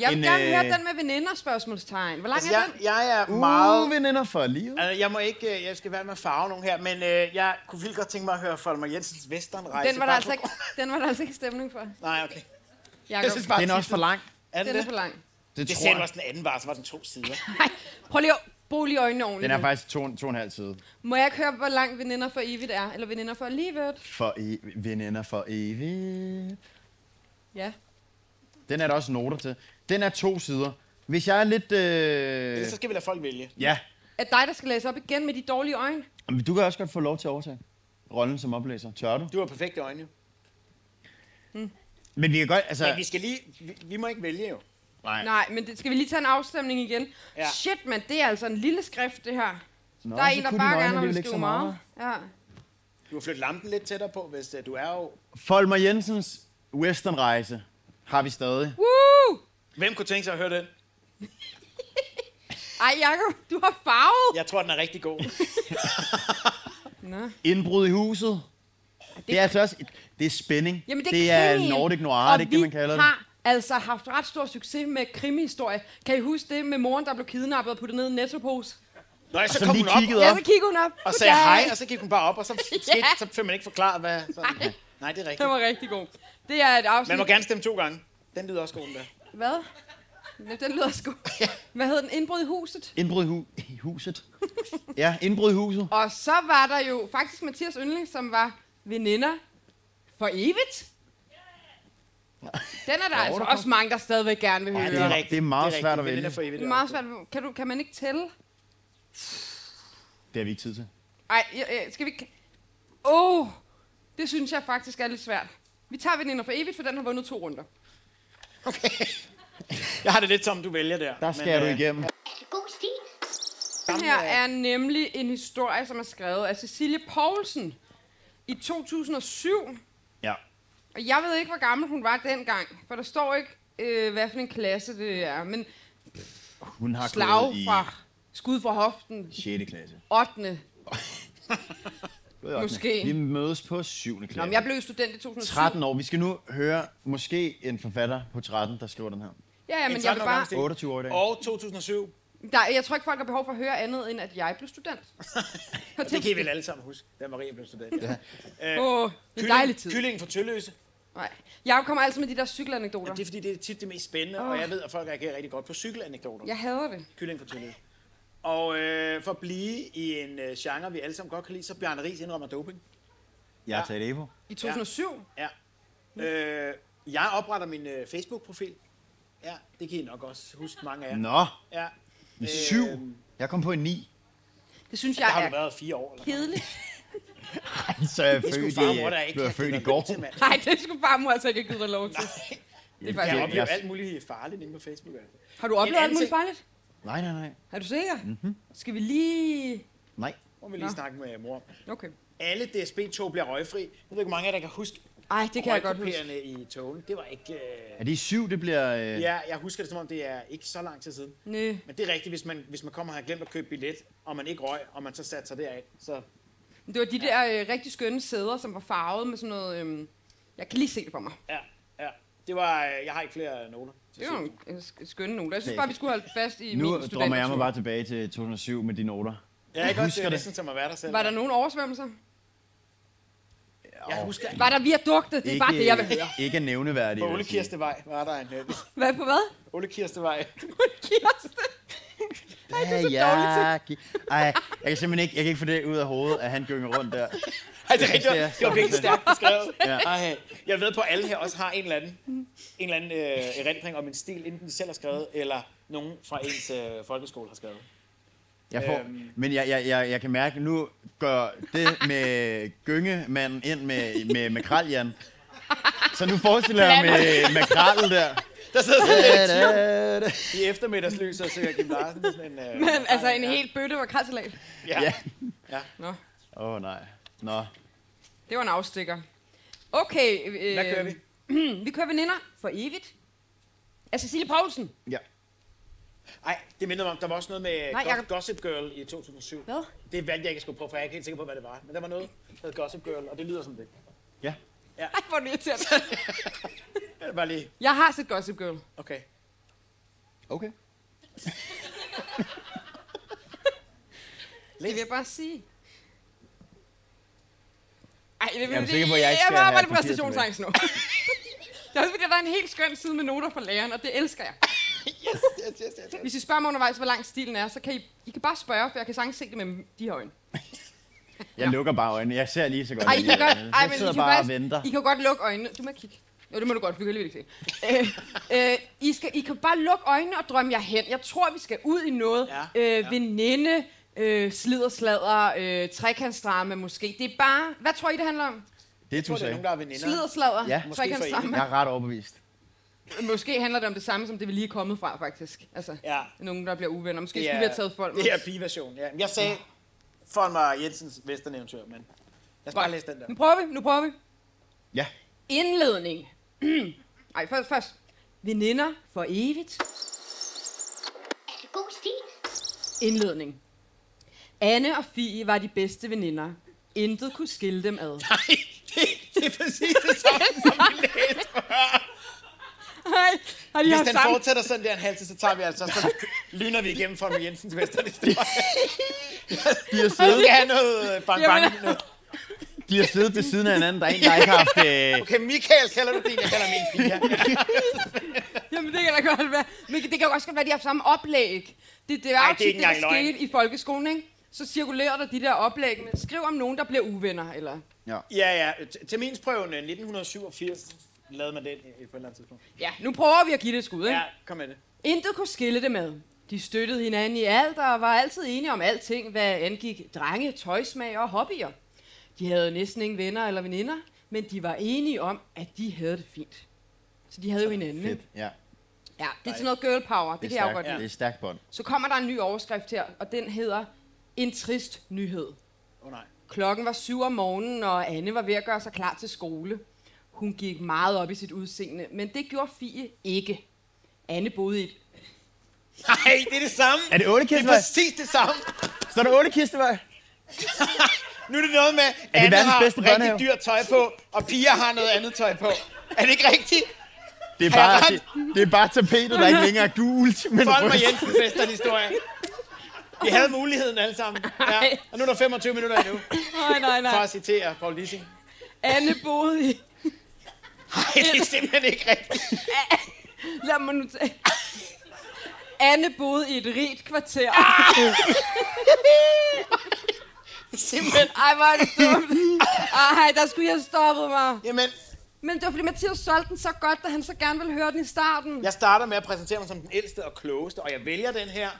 Jeg vil En, gerne øh, høre den med veninder, spørgsmålstegn. Hvor lang Altså, er jeg, den? jeg er Meget meget... Uh, veninder for livet. Altså, jeg må ikke, øh, jeg skal være med at farve nogen her, men øh, jeg kunne vildt godt tænke mig at høre Folmer Jensens Westernrejse. Den var, der Bare altså på- ikke, den var der altså ikke stemning for. Nej, okay. Jeg Jakob, synes bare, Den er også for lang. Er den den er for det? lang. Det, Det tror sagde du jeg. også den anden var, så var den to sider. Nej, prøv lige at bo lige øjnene Den ordentligt. er nu. faktisk to, to og en halv side. Må jeg ikke høre, hvor lang veninder for evigt er? Eller veninder for livet? For e- veninder for evigt. Ja. Den er der også noter til. Den er to sider. Hvis jeg er lidt... Øh... Ellers så skal vi lade folk vælge. Ja, Er det dig, der skal læse op igen med de dårlige øjne? Men du kan også godt få lov til at overtage rollen som oplæser. Tør du? Du har perfekte øjne, jo. Men vi kan godt... Altså... Men vi skal lige... Vi, vi må ikke vælge, jo. Nej. Nej, men det, skal vi lige tage en afstemning igen? Ja. Ja. Shit, mand, det er altså en lille skrift, det her. Nå, Nå, der er så en, der kunne dine bare øjne gerne vil alligevel ikke skrive så meget. Ja. Du har flyttet lampen lidt tættere på, hvis øh, du er jo... Folmer Jensens westernrejse har vi stadig. Woo! Hvem kunne tænke sig at høre den? Ej, Jacob, du har farvet! Ja. Jeg tror, den er rigtig god. Nå. Indbrud i huset. Det, det er altså også... Det er spænding. Jamen, det, det er krimien, Nordic Noir, det er og ikke det, man kalder vi har altså haft ret stor succes med krimihistorie. Kan I huske det med moren, der blev kidnappet og puttet ned i en nettopose? Nå, ja, så, så kom lige hun op kiggede Ja, op. så kiggede hun op. og sagde Goddag. hej, og så gik hun bare op, og så, skete, Ja. så fik man ikke forklaret, hvad... Så, nej. nej, det er Den rigtigt. var rigtig god. Det er et afsnit. Man må gerne stemme to gange. Den lyder også god, den der. Hvad? Ja, Den lyder sgu. Hvad hed den? Indbrud i huset? det. Indbrud i, hu- i huset. ja, indbrud i huset. Og så var der jo faktisk Mathias Yndling, som var veninder for evigt. Den er der altså også mange, der stadigvæk gerne vil høre. det er rigtigt. Det er meget rigtigt. svært at Men den vælge. er for evigt, Det er ja. meget svært. Kan, du, kan man ikke tælle? Det har vi ikke tid til. Ej, jeg- jeg- skal vi ikke... Åh, oh, det synes jeg faktisk er lidt svært. Vi tager veninder for evigt, for den har vundet to runder. Jeg har det lidt som, du vælger der. øh, Der skærer du igennem. Er det god stil? Den her er nemlig en historie, som er skrevet af Cecilie Poulsen i 2007. Ja. Og jeg ved ikke, hvor gammel hun var dengang, for der står ikke, øh, hvad for en klasse det er, men Hun har slag gået i fra skud fra hoften, 6. klasse. 8. Gået i ottende. Måske. Vi mødes på 7. klasse. Nå, men jeg blev student i 2007. 13 år. Vi skal nu høre måske en forfatter på 13, der skriver den her. Ja, ja, men En jeg, vil 13 bare, årgang. 28 år i dag. Og 2007. der, jeg tror ikke, folk har behov for at høre andet, end at jeg blev student. Og det kan I vel alle sammen huske, da Maria blev student. Ja. Åh, en dejlig tid. Kyllingen fra Tølløse. Nej. Jeg kommer altid med de der Ja, cykelanekdoter. det er fordi, det er tit det mest spændende, oh. og jeg ved, at folk reagerer rigtig godt på cykelanekdoter. Jeg hader det. Kylling fra Tølløse. Og øh, for at blive i en øh, genre, vi alle sammen godt kan lide, så Bjarne Ries indrømmer doping. Jeg har taget Evo. I 2007? Ja. Mm. Øh, jeg opretter min øh, Facebook-profil. Ja, det kan I nok også huske mange af jer. Nå, Ja. en 7. Jeg kom på en 9. Det synes Der jeg har du er været fire år. Eller? kedeligt. Så er jeg Det skulle født far og mor, der i, ikke blev jeg have givet født i dig går. lov til, mand. Nej, det skulle bare mor altså ikke have givet dig lov til. Det er Jeg faktisk oplever jeg- alt muligt farligt inde på Facebook. altså. Har du oplevet alt anden muligt ting- Mhm. farligt? Nej, nej, nej. Er du sikker? Mm-hmm. Skal vi lige... Nej. Må vi lige Nå. snakke med mor. om. Okay. Alle DSB-tog bliver røgfri. Jeg ved ikke, hvor mange af jer, der kan huske Ej, det kan jeg godt huske. røgkupéerne i togene. Det var ikke... Øh... Er det i syv, det bliver... Øh... Ja, jeg husker det, som om det er ikke så lang tid siden. Næ. Men det er rigtigt, hvis man, hvis man kommer og har glemt at købe billet, og man ikke røg, og man så satte sig deraf, så Det var de der øh, rigtig skønne sæder, som var farvet med sådan noget... Øhm, jeg kan lige se det for mig. ja, ja. Det var, øh, jeg har ikke flere noter. til Det var sidst. nogle øh, sk- skønne noter. Jeg synes bare, vi skulle holde fast i Nu min drømmer jeg mig studentertur. bare tilbage til 2007 med de noter. Ja, jeg godt, husker det er det. næsten som at være der selv. Var der nogen oversvømmelser? Jeg husker, Var der viadukter? Det er bare det, jeg vil høre. Ikke øh, nævneværdigt. på Ole Kirstevej var der en... øh, Hvad på hvad? Ole Kirstevej. Kirsten. Ej, det er så dårligt. Ej, jeg kan simpelthen ikke, jeg kan ikke få det ud af hovedet, at han gynger rundt der. Ej, det, er rigtigt, det er det var virkelig så- stærkt beskrevet. Ja. Ej, jeg ved på, at alle her også har en eller anden, en eller anden øh, erindring om en stil, enten de selv har skrevet, eller nogen fra ens øh, folkeskole har skrevet. Jeg får, Øhm. men jeg, jeg, jeg, jeg kan mærke, nu gør det med gyngemanden ind med, med, med kraljan. Så nu forestiller jeg mig med, med kral der. Der sidder sådan lidt Da, da. i eftermiddagslys og søger Kim Larsen. Sådan en, øh, Men altså en hel bøtte var krasselag. Ja. Ja. Nå, Åh oh, nej. Nå. det var en afstikker. Okay. Øh, Hvad kører vi? Vi kører veninder for evigt. Af Cecilie Poulsen. Ja. Ej, det minder mig om, der var også noget med Nej, Nej, Jacob. Gossip Girl i 2007. Hvad? Det valgte jeg ikke at skulle prøve, for jeg er ikke helt sikker på, hvad det var. Men der var noget, der hed Gossip Girl, og det lyder som det. Ja. Ej, hvor er det irriterende. Ja, Bare lige, Jeg har set Gossip Girl. okay. Okay. Det vil jeg bare sige. Ej, det vil Jeg er sikker på, at jeg ikke skal have Jeg arbejde papir præstationsangst nu. Det er også fordi, der var en helt skøn side med noter fra læreren, og det elsker jeg. Yes, yes, yes, yes. Hvis I spørger mig undervejs, hvor lang stilen er, så kan I, I kan bare spørge, for jeg kan sagtens se det med de her øjne. Jeg lukker bare øjnene. Jeg ser lige så godt. Ej, I ind i kan godt, øjnene. ej, jeg men I sidder kan, bare og faktisk, venter. I kan godt lukke øjnene. Du må ikke kigge. Jo, det må du godt, vi kan alligevel ikke se. Øh, øh, I, skal, I kan bare lukke øjnene og drømme jer hen. Jeg tror, vi skal ud i noget. Ja, øh, Veninde, øh, sliderslader, øh, trekantsdrama måske. Det er bare... Hvad tror I, det handler om? Det Jeg tror, du det er sagde. nogen, der er veninder. Sliderslader, Ja. ja, Måske trekantsdrama. Jeg er ret overbevist. Måske handler det om det samme, som det vi lige er kommet fra, faktisk. Altså, Ja. nogen, der bliver uvenner. Måske Det skulle vi er- have taget folk. Det er piversion, ja. Men Jeg sagde for mig Jensens Vesterneventyr, men lad os bare læse den der. Nu prøver vi, nu prøver vi. Ja. Indledning. Ej, først, først. Veninder for evigt. Er det god stil? Indledning. Anne og Fie var de bedste veninder. Intet kunne skille dem ad. Nej, det, det er præcis det samme, som vi læste før. Ej, har de haft Hvis den sammen? fortsætter sådan der en halv tid, så tager vi altså, så lyner vi igennem for mig Jensens Vesterneventyr. De har Vi siddet, skal have noget øh, bang bang. Jamen. Noget. de har siddet ved siden af hinanden. Der er en, der ikke har haft... Øh, Okay, Michael kalder du din, jeg kalder min Pia. Jamen, det kan da godt være. Men det kan jo også godt være, at de har haft samme oplæg. Det, det er Ej, jo det er tit ikke det, der engang løgn. skete i folkeskolen, ikke? Så cirkulerer der de der oplæg med, skriv om nogen, der bliver uvenner, eller... Ja, ja. T- Terminsprøven øh, 1987 lavede man den øh, på et eller andet tidspunkt. Ja, nu prøver vi at give det et skud, ikke? Ja, kom med det. Intet kunne skille det med. De støttede hinanden i alt og var altid enige om alting, hvad angik drenge, tøjsmag og hobbyer. De havde næsten ingen venner eller veninder, men de var enige om, at de havde det fint. Så de havde jo hinanden. fedt. ikke? Ja. Ja, det er sådan noget girl power, det, Det det er stærkt. kan jeg jo godt lide. Det er stærkt bånd. Så kommer der en ny overskrift her, og den hedder En trist nyhed. Åh oh, nej. Klokken var syv om morgenen, og Anne var ved at gøre sig klar til skole. Hun gik meget op i sit udseende, men det gjorde Fie ikke. Anne boede i et Nej, det er det samme. Er det otte Det er kistevej? præcis det samme. Så er det otte kistevej? Nu er det noget med, at Anne verdens har bedste rigtig børnehave? dyrt tøj på, og Pia har noget andet tøj på. Er det ikke rigtigt? Det er Har jeg bare, ret? det, det er bare tapetet, der ikke længere er gult, men Folk og rødt. Jensen fester en historie. Vi havde muligheden alle sammen. Ja. Og nu er der 25 minutter endnu, Nej, nej, for nej. at citere Paul Lissing. Nej, Anne boede i... det er simpelthen ikke rigtigt. Lad mig nu tage... Anne boede i et rigt kvarter. Simpelthen. Ej, hvor er det dumt. Ej, der skulle jeg have stoppet mig. Jamen, Men det var fordi Mathias solgte den så godt, da han så gerne ville høre den i starten. jeg starter med at præsentere mig som den ældste og klogeste, og jeg vælger den her.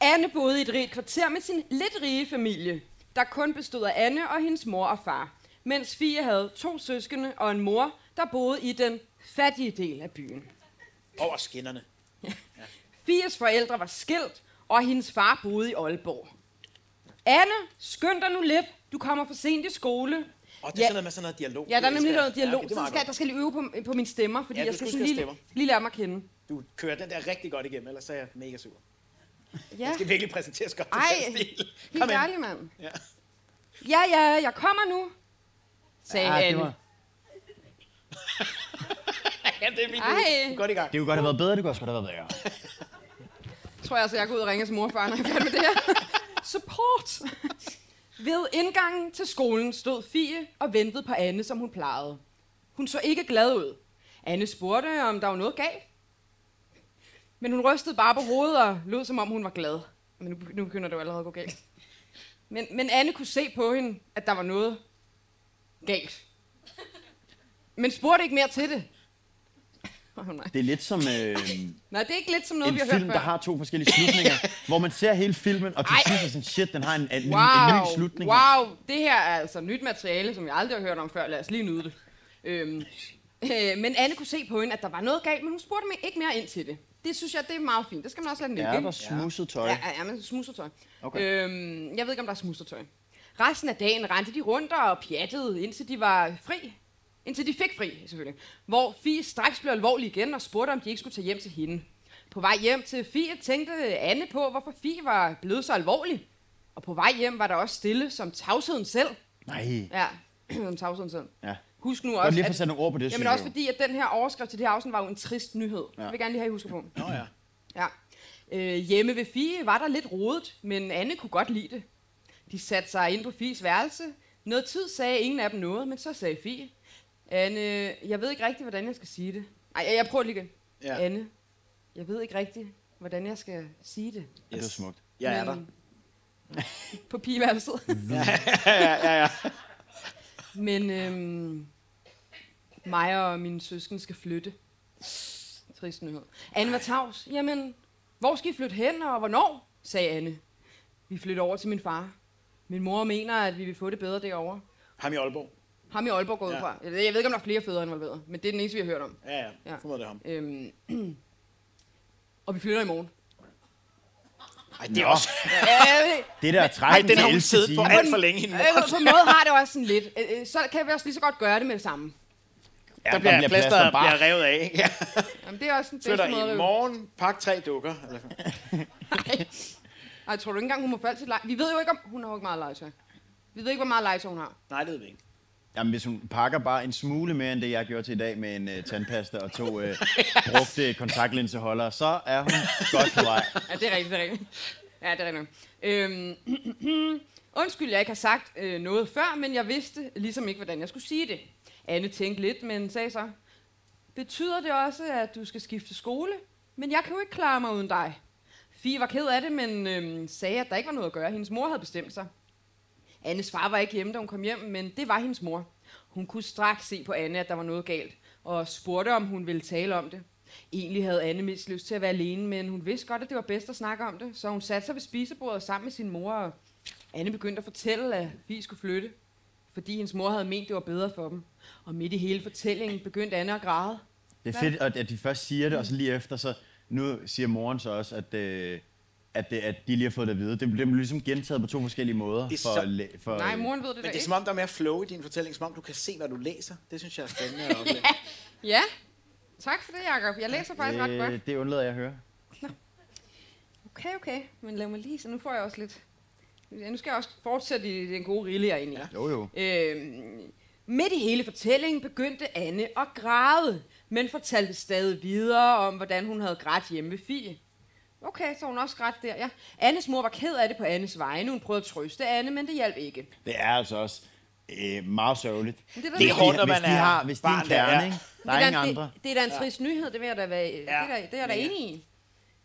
Anne boede i et rigt kvarter med sin lidt rige familie, der kun bestod af Anne og hendes mor og far, mens Fie havde to søskende og en mor, der boede i den fattige del af byen. Over skinnerne. Fies forældre var skilt, og hendes far boede i Aalborg. Anne, skynd dig nu lidt. Du kommer for sent i skole. Og det er Ja. sådan noget med sådan noget dialog. Ja, der er Det nemlig elsker jeg. noget dialog. okay, Ja, det er så meget skal, der skal lige øve på, på mine stemmer, fordi Ja, jeg du skal skal sådan huske lige, at stemmer. lige lære mig at kende. godt. Du kører den der rigtig godt igennem, ellers er jeg mega sur. Ja. Jeg skal virkelig præsenteres godt til Ej, den stil. helt Kom ind. ærlig, mand. Ja. Ja, ja, jeg kommer nu, sagde Ah, ja, Anne. Ja, det er min Ej. Ej. Godt i gang. Det kunne godt have været bedre, det kunne også godt have været værre. Tror jeg altså, jeg går ud og ringer til morfar, når jeg er færdig med det her. Support! Ved indgangen til skolen stod Fie og ventede på Anne, som hun plejede. Hun så ikke glad ud. Anne spurgte, om der var noget galt. Men hun rystede bare på hovedet og lød, som om hun var glad. Men nu, nu begynder det jo allerede at gå galt. Men, men Anne kunne se på hende, at der var noget galt. Men spurgte ikke mere til det. Oh, nej. Det er lidt som øh, nej, det er ikke lidt som noget, en vi har film, hørt der før. har to forskellige slutninger, hvor man ser hele filmen, og til Ej. sidst er sådan, shit, den har en, en, wow. en, Wow, ny slutning. wow, det her er altså nyt materiale, som jeg aldrig har hørt om før. Lad os lige nyde det. Øhm, øh, men Anne kunne se på hende, at der var noget galt, men hun spurgte mig ikke mere ind til det. Det synes jeg, det er meget fint. Det skal man også lade den ligge. Ja, ikke? der smusset tøj. Ja, ja, ja men smusertøj. Okay. Okay. Øhm, jeg ved ikke, om der er smusertøj. Resten af dagen rendte de rundt og pjattede, indtil de var fri. Indtil de fik fri, selvfølgelig. Hvor Fie straks blev alvorlig igen og spurgte, om de ikke skulle tage hjem til hende. På vej hjem til Fie tænkte Anne på, hvorfor Fie var blevet så alvorlig. Og på vej hjem var der også stille, som tavsheden selv. Nej. Ja, som tavsheden selv. Ja. Husk nu Godt også, lige at få sat nogle ord på det, Jamen synes også jeg jo. fordi, at den her overskrift til det her afsnit var jo en trist nyhed. Ja. Jeg vil gerne lige have, at I husker på. Nå ja. ja. Øh, hjemme ved Fie var der lidt rodet, men Anne kunne godt lide det. De satte sig ind på Fies værelse. Noget tid sagde ingen af dem noget, men så sagde Fie. Anne, jeg ved ikke rigtigt, hvordan jeg skal sige det. Ej, jeg prøver lige igen. Ja. Ja. Anne, jeg ved ikke rigtigt, hvordan jeg skal sige det. Ja, det var smukt. Jeg er der. Men- På pigeværelset. ja, ja, ja. Men øhm, mig og mine søsken skal flytte. Trist nyhed. Anne var tavs. Jamen, hvor skal I flytte hen, og hvornår? sagde Anne. Vi flytter over til min far. Min mor mener, at vi vil få det bedre derovre. Ham i Aalborg. Ham i Aalborg går ja. Ja. ud fra. Jeg ved, jeg ved ikke, om der er flere fædre involveret, men det er den eneste, vi har hørt om. Ja, ja. Ja. ja. Formoder det er ham. Øhm, og vi flytter i morgen. Ej, det er også... Ja, Det der Ej, træk, den har hun siddet på alt for længe. hende. Øh, på en måde har det også sådan lidt. Øh, øh, så kan vi også lige så godt gøre det med det samme. Ja, Der bliver plaster, bare. bliver revet af. ikke? Ja. Jamen, det er også en bedste Flytter måde at i rive. morgen, pak tre dukker. Eller sådan. Ej, tror du ikke engang, hun må få alt sit lej? Vi ved jo ikke, om hun har jo ikke meget legetøj. Vi ved ikke, hvor meget legetøj hun har. Nej, det ved vi ikke. Jamen, hvis hun pakker bare en smule mere end det, jeg gjorde til i dag med en uh, tandpasta og to uh, brugte kontaktlinseholdere, så er hun godt på vej. Ja, det er rigtigt, det er rigtigt. Ja, det er rigtigt. nok. Øhm, undskyld, jeg ikke har sagt øh, noget før, men jeg vidste ligesom ikke, hvordan jeg skulle sige det. Anne tænkte lidt, men sagde så, betyder det også, at du skal skifte skole? Men jeg kan jo ikke klare mig uden dig. Fie var ked af det, men øhm, sagde, at der ikke var noget at gøre. Hendes mor havde bestemt sig. Annes far var ikke hjemme, da hun kom hjem, men det var hendes mor. Hun kunne straks se på Anne, at der var noget galt, og spurgte, om hun ville tale om det. Egentlig havde Anne mest lyst til at være alene, men hun vidste godt, at det var bedst at snakke om det, så hun satte sig ved spisebordet sammen med sin mor, og Anne begyndte at fortælle, at vi skulle flytte, fordi hendes mor havde ment, det var bedre for dem. Og midt i hele fortællingen begyndte Anne at græde. Det er fedt, at at de først siger det, og så lige efter, så nu siger moren så også, at, øh, at, det, at de lige har fået det at vide. Det blev ligesom gentaget på to forskellige måder. Det er For, så- læ- for, Nej, moren ved det da Men det er ikke. som om, der er mere flow i din fortælling, som om du kan se, hvad du læser. Det synes jeg er spændende at opleve. Ja, tak for det, Jacob. Jeg læser faktisk ret godt. øh, det undlader jeg at høre. Okay, okay. Men lad mig lige, så nu får jeg også lidt... Ja, nu skal jeg også fortsætte i den gode rille, jeg er inde i. Jo, jo. Øhm, midt i hele fortællingen begyndte Anne at græde, men fortalte stadig videre om, hvordan hun havde grædt hjemme ved Fie. Okay, så hun også grædt der, ja. Annes mor var ked af det på Annes vegne. Hun prøvede at trøste Anne, men det hjalp ikke. Det er altså også øh, meget sørgeligt. Men det er da- Det er hårdt, når hvis man de er har, hvis de er en barn, der er- kerne, ikke? Der er det, ingen da- andre. Det, det er da en trist nyhed, det vil jeg da være, ja. det, er da, det er jeg da Ja. enig i.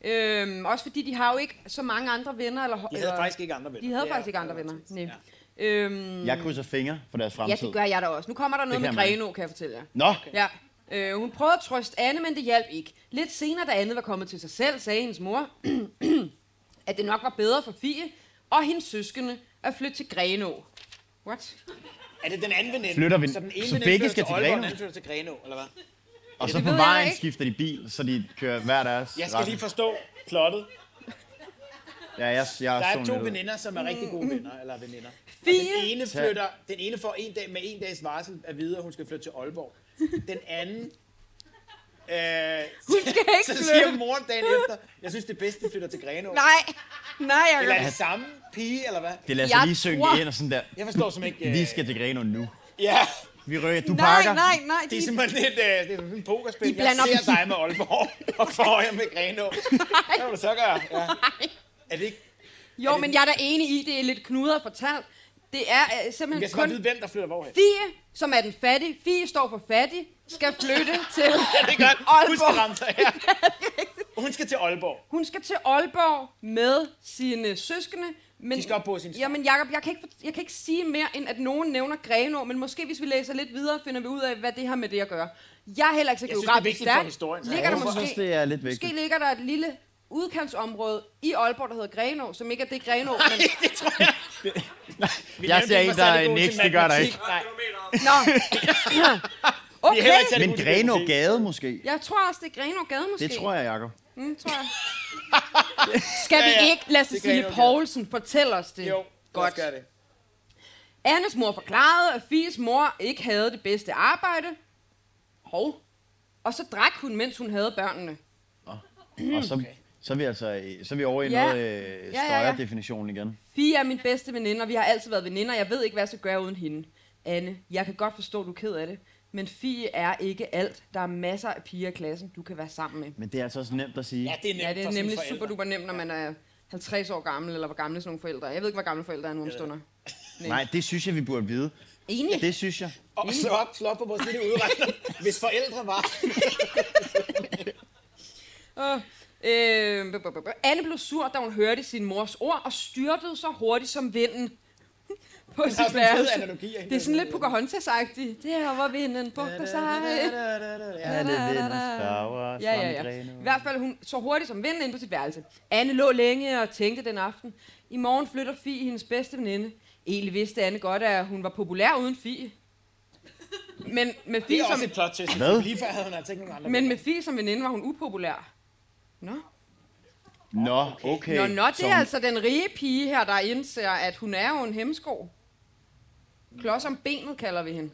Øhm, også fordi de har jo ikke så mange andre venner. Eller, De havde eller, faktisk ikke andre venner. de havde Det er faktisk ikke andre venner. Nej. Øhm, Jeg krydser fingre for deres ja, fremtid. det gør jeg da også. Nu kommer der noget Det med kan man ikke. Greno, kan jeg fortælle jer. Nå, Ja. Øh, hun prøvede at trøste Anne, men det hjalp ikke. Lidt senere, da Anne var kommet til sig selv, sagde hendes mor, at det nok var bedre for Fie og hendes søskende at flytte til Grenå. What? Er det den anden veninde? Flytter vi- Så, den ene så veninde begge flytter skal til Aalborg, Grenaa? Den anden flytter til Grenå, eller hvad? Og så det på ved jeg da vejen ikke. skifter de bil, så de kører hver deres Jeg skal retning. lige forstå plottet. Ja, jeg, jeg Der er zonet to ud. veninder, som er rigtig Mm. gode venner, eller veninder. Den Fie, ene, flytter, den ene får en dag, med en dags varsel at vide, at hun skal flytte til Aalborg. Den anden... Øh, hun skal ikke så siger flytte. moren dagen efter, jeg synes, det er bedst, de flytter til Grenaa. Nej, nej, Eller er jeg det samme pige, eller hvad? Det lader sig Jeg lige synge tror- ind og sådan der. Jeg forstår som ikke... øh, Vi skal til Grenaa nu. Ja, Vi rykker, du Nej, pakker. nej, nej, det er de, simpelthen et, øh, det er sådan en pokerspil. De Jeg blander ser dig med Aalborg, og får jer med Grenaa. Hvad vil du så gøre? Ja. Er det ikke... jo, men jeg er da enig i, det er lidt knudret fortalt. Det er øh, Jeg simpelthen skal bare vide, kun hvem der flytter hvorhen. Fie, som er den fattige. Fie står for fattig, skal flytte til Det er godt. Hun skal Aalborg. ramme sig her. Hun skal til Aalborg. Hun skal til Aalborg med sine søskende. Men, De skal op på sin far. Jamen Jacob, jeg kan, ikke, for- jeg kan ikke sige mere, end at nogen nævner Grenå, men måske hvis vi læser lidt videre, finder vi ud af, hvad det har med det at gøre. Jeg er heller ikke så Jeg synes, det er geografisk vigtigt for stærk. historien. Ligger der Jeg måske, synes, det er lidt vigtigt. måske ligger der et lille udkantsområde i Aalborg, der hedder Grenå, som ikke er det Grenå, men... Det tror jeg. Vi Jeg nævnte, ser vi en, var der særlig er gode til niks, det gør der matematik. ikke. Nej, Nå. vi er heller Okay. ikke særlig Men gode til Grenaa matematik. Gade måske. Jeg tror også, det er Grenå Gade måske. Det tror jeg, Jacob. Mm, tror jeg. Skal vi Ja, ja. ikke lade Det er Cecilie Grenaa Gade. Poulsen fortælle os det? Jo, Godt. godt gør det. Annes mor forklarede, at Fies mor ikke havde det bedste arbejde. Hov. Og så drak hun, mens hun havde børnene. Og så, så er vi altså øh, så er vi over i Ja. noget øh, ja, ja. støjerdefinition igen. Fie er min bedste veninde, og vi har altid været veninder. Jeg ved ikke, hvad jeg skal gøre uden hende. Anne, jeg kan godt forstå, du er ked af det. Men Fie er ikke alt. Der er masser af piger i klassen, du kan være sammen med. Men det er altså også nemt at sige. Ja, det er nemt Ja, det for er sine nemlig forældre. super duper nemt, når man er 50 år gammel, eller hvor gamle sådan nogle forældre er. Jeg ved ikke, hvor gamle forældre er nu om stunder. Nej, det synes jeg, vi burde vide. Enig. Det synes jeg. Og slå op, slå op på vores lille udregner, hvis forældre var. Åh, Øh, bup, bup, bup. Anne blev sur, da hun hørte sin mors ord, og styrtede så hurtigt som vinden på sådan sit en fed værelse. analogi, ikke? Det er sådan lidt Pocahontas-agtigt. Det her var vinden, bugter sig. Ja, det er vindens farver, Ja, ja, ja. I hvert fald hun så hurtigt som vinden ind på sit værelse. Anne lå længe og tænkte den aften. I morgen flytter Fie, hendes bedste veninde. Egentlig vidste Anne godt, at hun var populær uden Fie. Men med Det Fie er som, også et plot twist. Hvad? Lige før havde hun altså ikke nogen andre. ligesom- men med Fie som veninde var hun upopulær. Nå. Nå, okay. Nå, nå, det Så er hun- altså den rige pige her, der indser, at hun er jo en hemsko. Klods om benet kalder vi hende.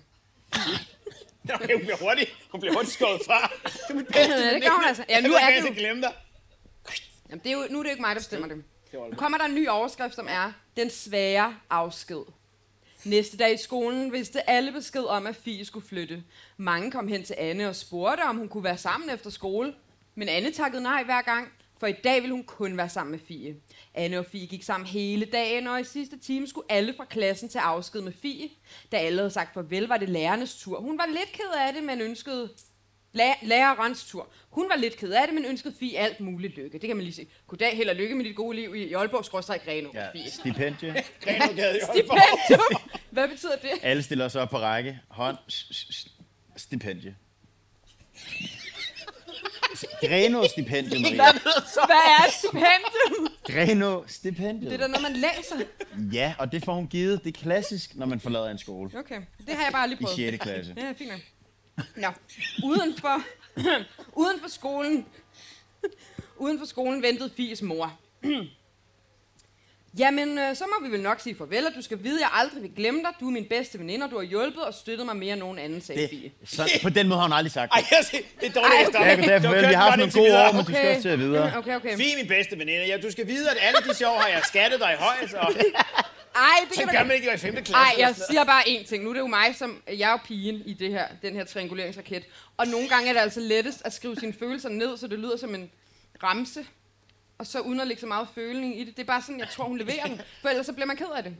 Nå, okay, hun bliver hurtigt. Hun bliver hurtigt skåret fra. Det er min bedste Ja, det gør hun altså. Ja, Jeg nu ved, er jeg det kan jo, glemme dig. jamen, det er jo, nu er det jo ikke mig, der bestemmer det. Nu kommer der en ny overskrift, som er Den svære afsked. Næste dag i skolen vidste alle besked om, at Fie skulle flytte. Mange kom hen til Anne og spurgte, om hun kunne være sammen efter skole. Men Anne takkede nej hver gang, for i dag ville hun kun være sammen med Fie. Anne og Fie gik sammen hele dagen, og i sidste time skulle alle fra klassen til afsked med Fie. Da alle havde sagt farvel, var det lærernes tur. Hun var lidt ked af det, men ønskede La- lærerens tur. Hun var lidt ked af det, men ønskede Fie alt muligt lykke. Det kan man lige se. Goddag, held og lykke med dit gode liv i i Aalborg, skråstrej Grenå. Ja, Fie. stipendie. Grenogade i Aalborg. Stipendium. Hvad betyder det? Alle stiller sig op på række. Hånd. S- s- s- Stipendie. Greno stipendie, Maria. Hvad er et stipendium? Greno Det er stipendie. da noget, man læser. Ja, og det får hun givet. Det er klassisk, når man forlader en skole. Okay, det har jeg bare lige I prøvet. 6. klasse. Ja, fint nok. Nå, uden for, uden for skolen, uden for skolen ventede Fies mor. Jamen, øh, så må vi vel nok sige farvel, og du skal vide, at jeg aldrig vil glemme dig. Du er min bedste veninde, og du har hjulpet og støttet mig mere end nogen anden, sagde det. Fie. Det, så, på den måde har hun aldrig sagt Ej, det. jeg siger, det er dårligt Ej, efter. okay. Ja, goddag, farvel. Vi har haft nogle gode år, men du skal også til at videre. Okay, okay. Fie, min bedste veninde. Ja, du skal vide, at alle de sjov har jeg skattet dig i højt, og Ej, det så kan gør man man ikke i 5. klasse. Nej, jeg siger bare én ting. Nu er det jo mig, som jeg er jo pigen i det her, den her trianguleringsraket. Og nogle gange er det altså lettest at skrive sine følelser ned, så det lyder som en ramse. Og så uden at lægge så meget føling i det. Det er bare sådan, jeg tror, hun leverer den. For ellers så bliver man ked af det.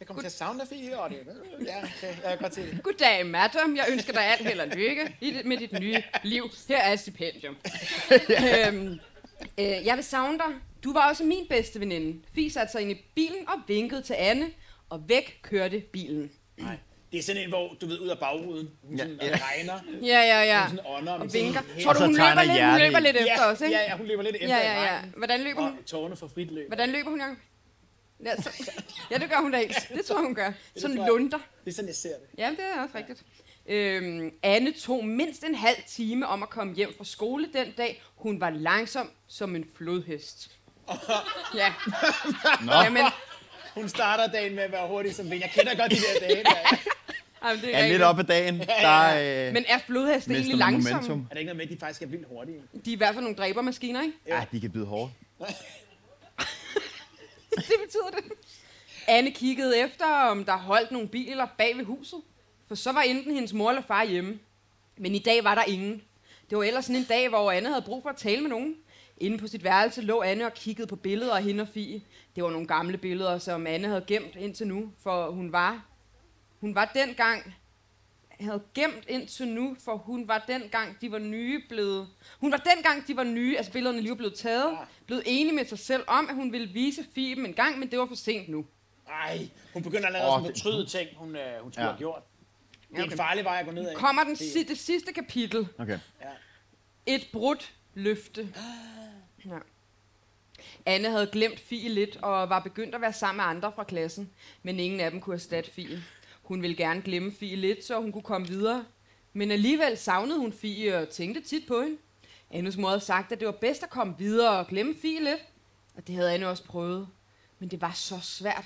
Jeg kommer til at savne dig, Fie, og det ja, okay, jeg kan godt se det. Goddag, madam. Jeg ønsker dig alt held og lykke i dit, med dit nye liv. Her er et stipendium. øhm, øh, jeg vil savne dig. Du var også min bedste veninde. Fie satte sig ind i bilen og vinkede til Anne, og væk kørte bilen. Det er sådan en, hvor du ved, ud af bagruden, hun Ja, sådan, ja. ja. regner, Ja, ja, ja. hun sådan ånder. men Og sådan vinker. helt- Tror du, så hun tegner løber lidt, hun hjertet løber i. lidt efter os, ikke? Ja, ja, hun løber lidt efter Ja, i ja, ja. regnen, Hvordan løber hun? Og tårerne fra frit løb. Hvordan løber hun, Jacob? Ja, så, ja, det gør hun da ikke. Det tror jeg, hun gør. Sådan tror jeg. lunter. Det er sådan, jeg ser det. Ja, det er også rigtigt. Øhm, Anne tog mindst en halv time om at komme hjem fra skole den dag. Hun var langsom som en flodhest. ja. Nå. Jamen, Hun starter dagen med at være hurtig som vind. Jeg kender godt de der dage. Der. er. jamen, det er, Er lidt rigtigt. op ad dagen. Der er, øh, Men er flodheste mister egentlig man langsomme? momentum. Er det ikke noget med, at de faktisk er vildt hurtige? De er i hvert fald nogle dræbermaskiner, ikke? Ja, de kan bide hårdt. det betyder det. Anne kiggede efter, om der holdt nogle biler bag ved huset, for så var enten hendes mor eller far hjemme. Men i dag var der ingen. Det var ellers sådan en dag, hvor Anne havde brug for at tale med nogen. Inde på sit værelse lå Anne og kiggede på billeder af hende og Fie. Det var nogle gamle billeder, som Anne havde gemt indtil nu, for hun var... Hun var dengang havde gemt indtil nu, for hun var dengang, de var nye blevet... Hun var dengang, de var nye, altså billederne lige var blevet taget, blevet enige med sig selv om, at hun ville vise Fie dem en gang, men det var for sent nu. Ej, hun begynder allerede Åh, oh, at det- fortryde ting, hun, øh, hun Ja. skulle ja. have gjort. Det er Okay. en farlig vej at gå ned ad. Kommer den si- det sidste kapitel, Okay. et brudt løfte. Ja. Anne havde glemt Fie lidt, og var begyndt at være sammen med andre fra klassen, men ingen af dem kunne erstatte Fie. Hun ville gerne glemme Fie lidt, så hun kunne komme videre. Men alligevel savnede hun Fie og tænkte tit på hende. Annes mor havde sagt, at det var bedst at komme videre og glemme Fie lidt, og det havde Anne også prøvet. Men det var så svært.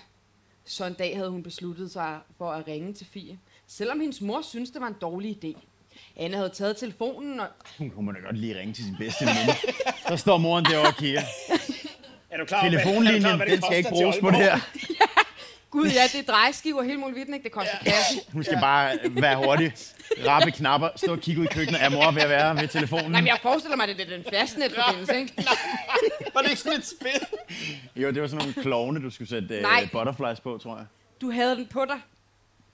Så en dag havde hun besluttet sig for at ringe til Fie, selvom hendes mor syntes, det var en dårlig idé. Anne havde taget telefonen og Hun kunne da godt lige ringe til sin bedste veninde. Så står moren derovre og kigger. Er du klar over, hvad- er du klar over, Telefonlinjen, hvad det den skal koster ikke til bruges på det Aalborg? her. Gud, ja, det er drejeskiver og hele muligheden, ikke? Det koster ja. kasse. Hun skal bare være hurtig. Rappe knapper, stå og kigge ud i køkkenet. Er mor ved at være ved telefonen? Nej, men jeg forestiller mig, at det er den fastnetforbindelse, ikke? Var det ikke sådan et spil? Jo, det var sådan nogle klovne, du skulle sætte øh, Nej. butterflies på, tror jeg. Du havde den på dig,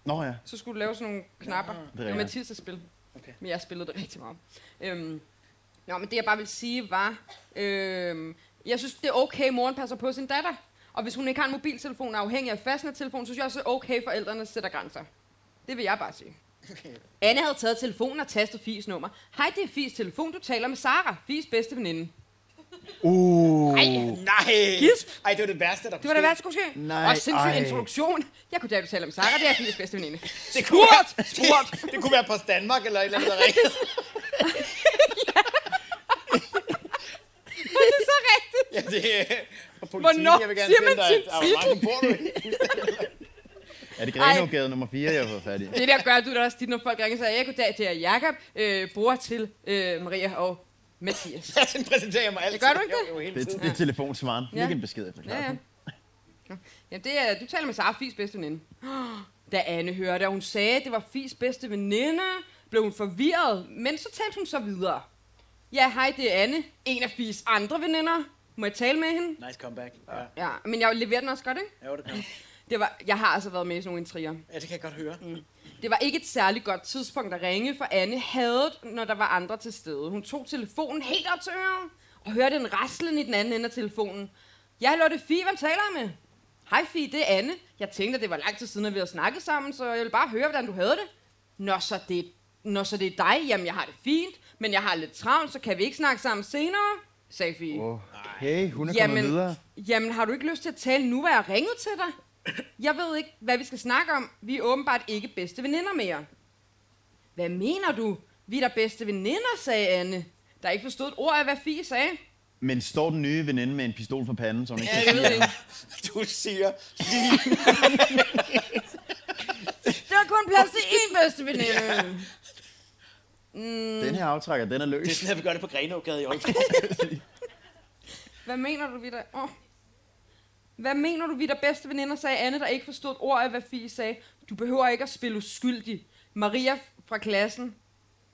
Nå ja. så skulle du lave sådan nogle knapper. Ja, det var rigtigt. Mathias, der spillede. Okay. Men jeg spillede det rigtig meget. Øhm, nå, men det jeg bare vil sige var, øhm, jeg synes, det er okay, moren passer på sin datter. Og hvis hun ikke har en mobiltelefon og er afhængig af fastnettelefonen, så synes jeg også, det er okay, forældrene sætter grænser. Det vil jeg bare sige. Anne havde taget telefonen og tastet Fis nummer. Hej, det er Fis telefon, du taler med Sara, Fis bedste veninde. Uh. Nej. Gift. Ej, det var det værste, der Det var da værst, kunne ske. Nej, Og sindssyg ej. introduktion. Jeg kunne da betale om Sara, det er Fies bedste veninde. Det kunne, være, Spurt! det kunne være Post Danmark eller et eller andet, der ringede. Det er så rigtigt. Ja, det er og politiet, Hvornår jeg vil gerne siger sende man dig sin et abonnement på Porto. Er det Grenogade nummer 4, jeg har fået fat i? Det der gør du da også tit, når folk ringer og siger, jeg goddag, det er Jacob, øh, bror til øh, Maria og Mathias. Ja, Sådan præsenterer jeg mig altid. gør du ikke det? Jo, jo, hele Det, tiden. det er telefonsvaren. Ja. Ikke en besked efter Ja, ja. knappen. Nå. Ja, det er, du taler med Sara, Fis bedste veninde. Da Anne hørte, at hun sagde, at det var Fis bedste veninde, blev hun forvirret, men så talte hun så videre. Ja, hej, det er Anne, en af Fis andre veninder. Må jeg tale med hende? Nice comeback. Ja, Ja, men jeg leverer den også godt, ikke? ja det, kan. jeg. Det var, jeg har altså været med i sådan nogle intriger. ja, det kan jeg godt høre. Det var ikke et særligt godt tidspunkt at ringe, for Anne havde, når der var andre til stede. Hun tog telefonen helt op til øret, og hørte en raslen i den anden ende af telefonen. Jeg er Lotte Fie, hvem taler jeg med? Hej Fie, det er Anne. Jeg tænkte, at det var lang tid siden, at vi havde snakket sammen, så jeg ville bare høre, hvordan du havde det. Nå, så det, Nå, så det er dig. Jamen, jeg har det fint, men jeg har lidt travlt, så kan vi ikke snakke sammen senere, sagde Fie. Okay, hun er kommet videre. jamen, har du ikke lyst til at tale nu, hvor jeg har ringet til dig? Jeg ved ikke, hvad vi skal snakke om. Vi er åbenbart ikke bedste veninder mere. Hvad mener du? Vi er da bedste veninder, sagde Anne, der ikke forstod et ord af, hvad Fie sagde. Men står den nye veninde med en pistol for panden, som hun ikke Ja, kan jeg ved sige? ikke. Du siger, Der er kun plads til én bedste veninde. Øhm. Den her aftrækker, den er det løs. er sådan, at vi gør det på Grenågade i Aalborg. Hvad mener du, vi der... Oh. Hvad mener du, vi der bedste veninder, sagde Anne, der ikke forstod et ord af, hvad Fie sagde. Du behøver ikke at spille uskyldig. Maria fra klassen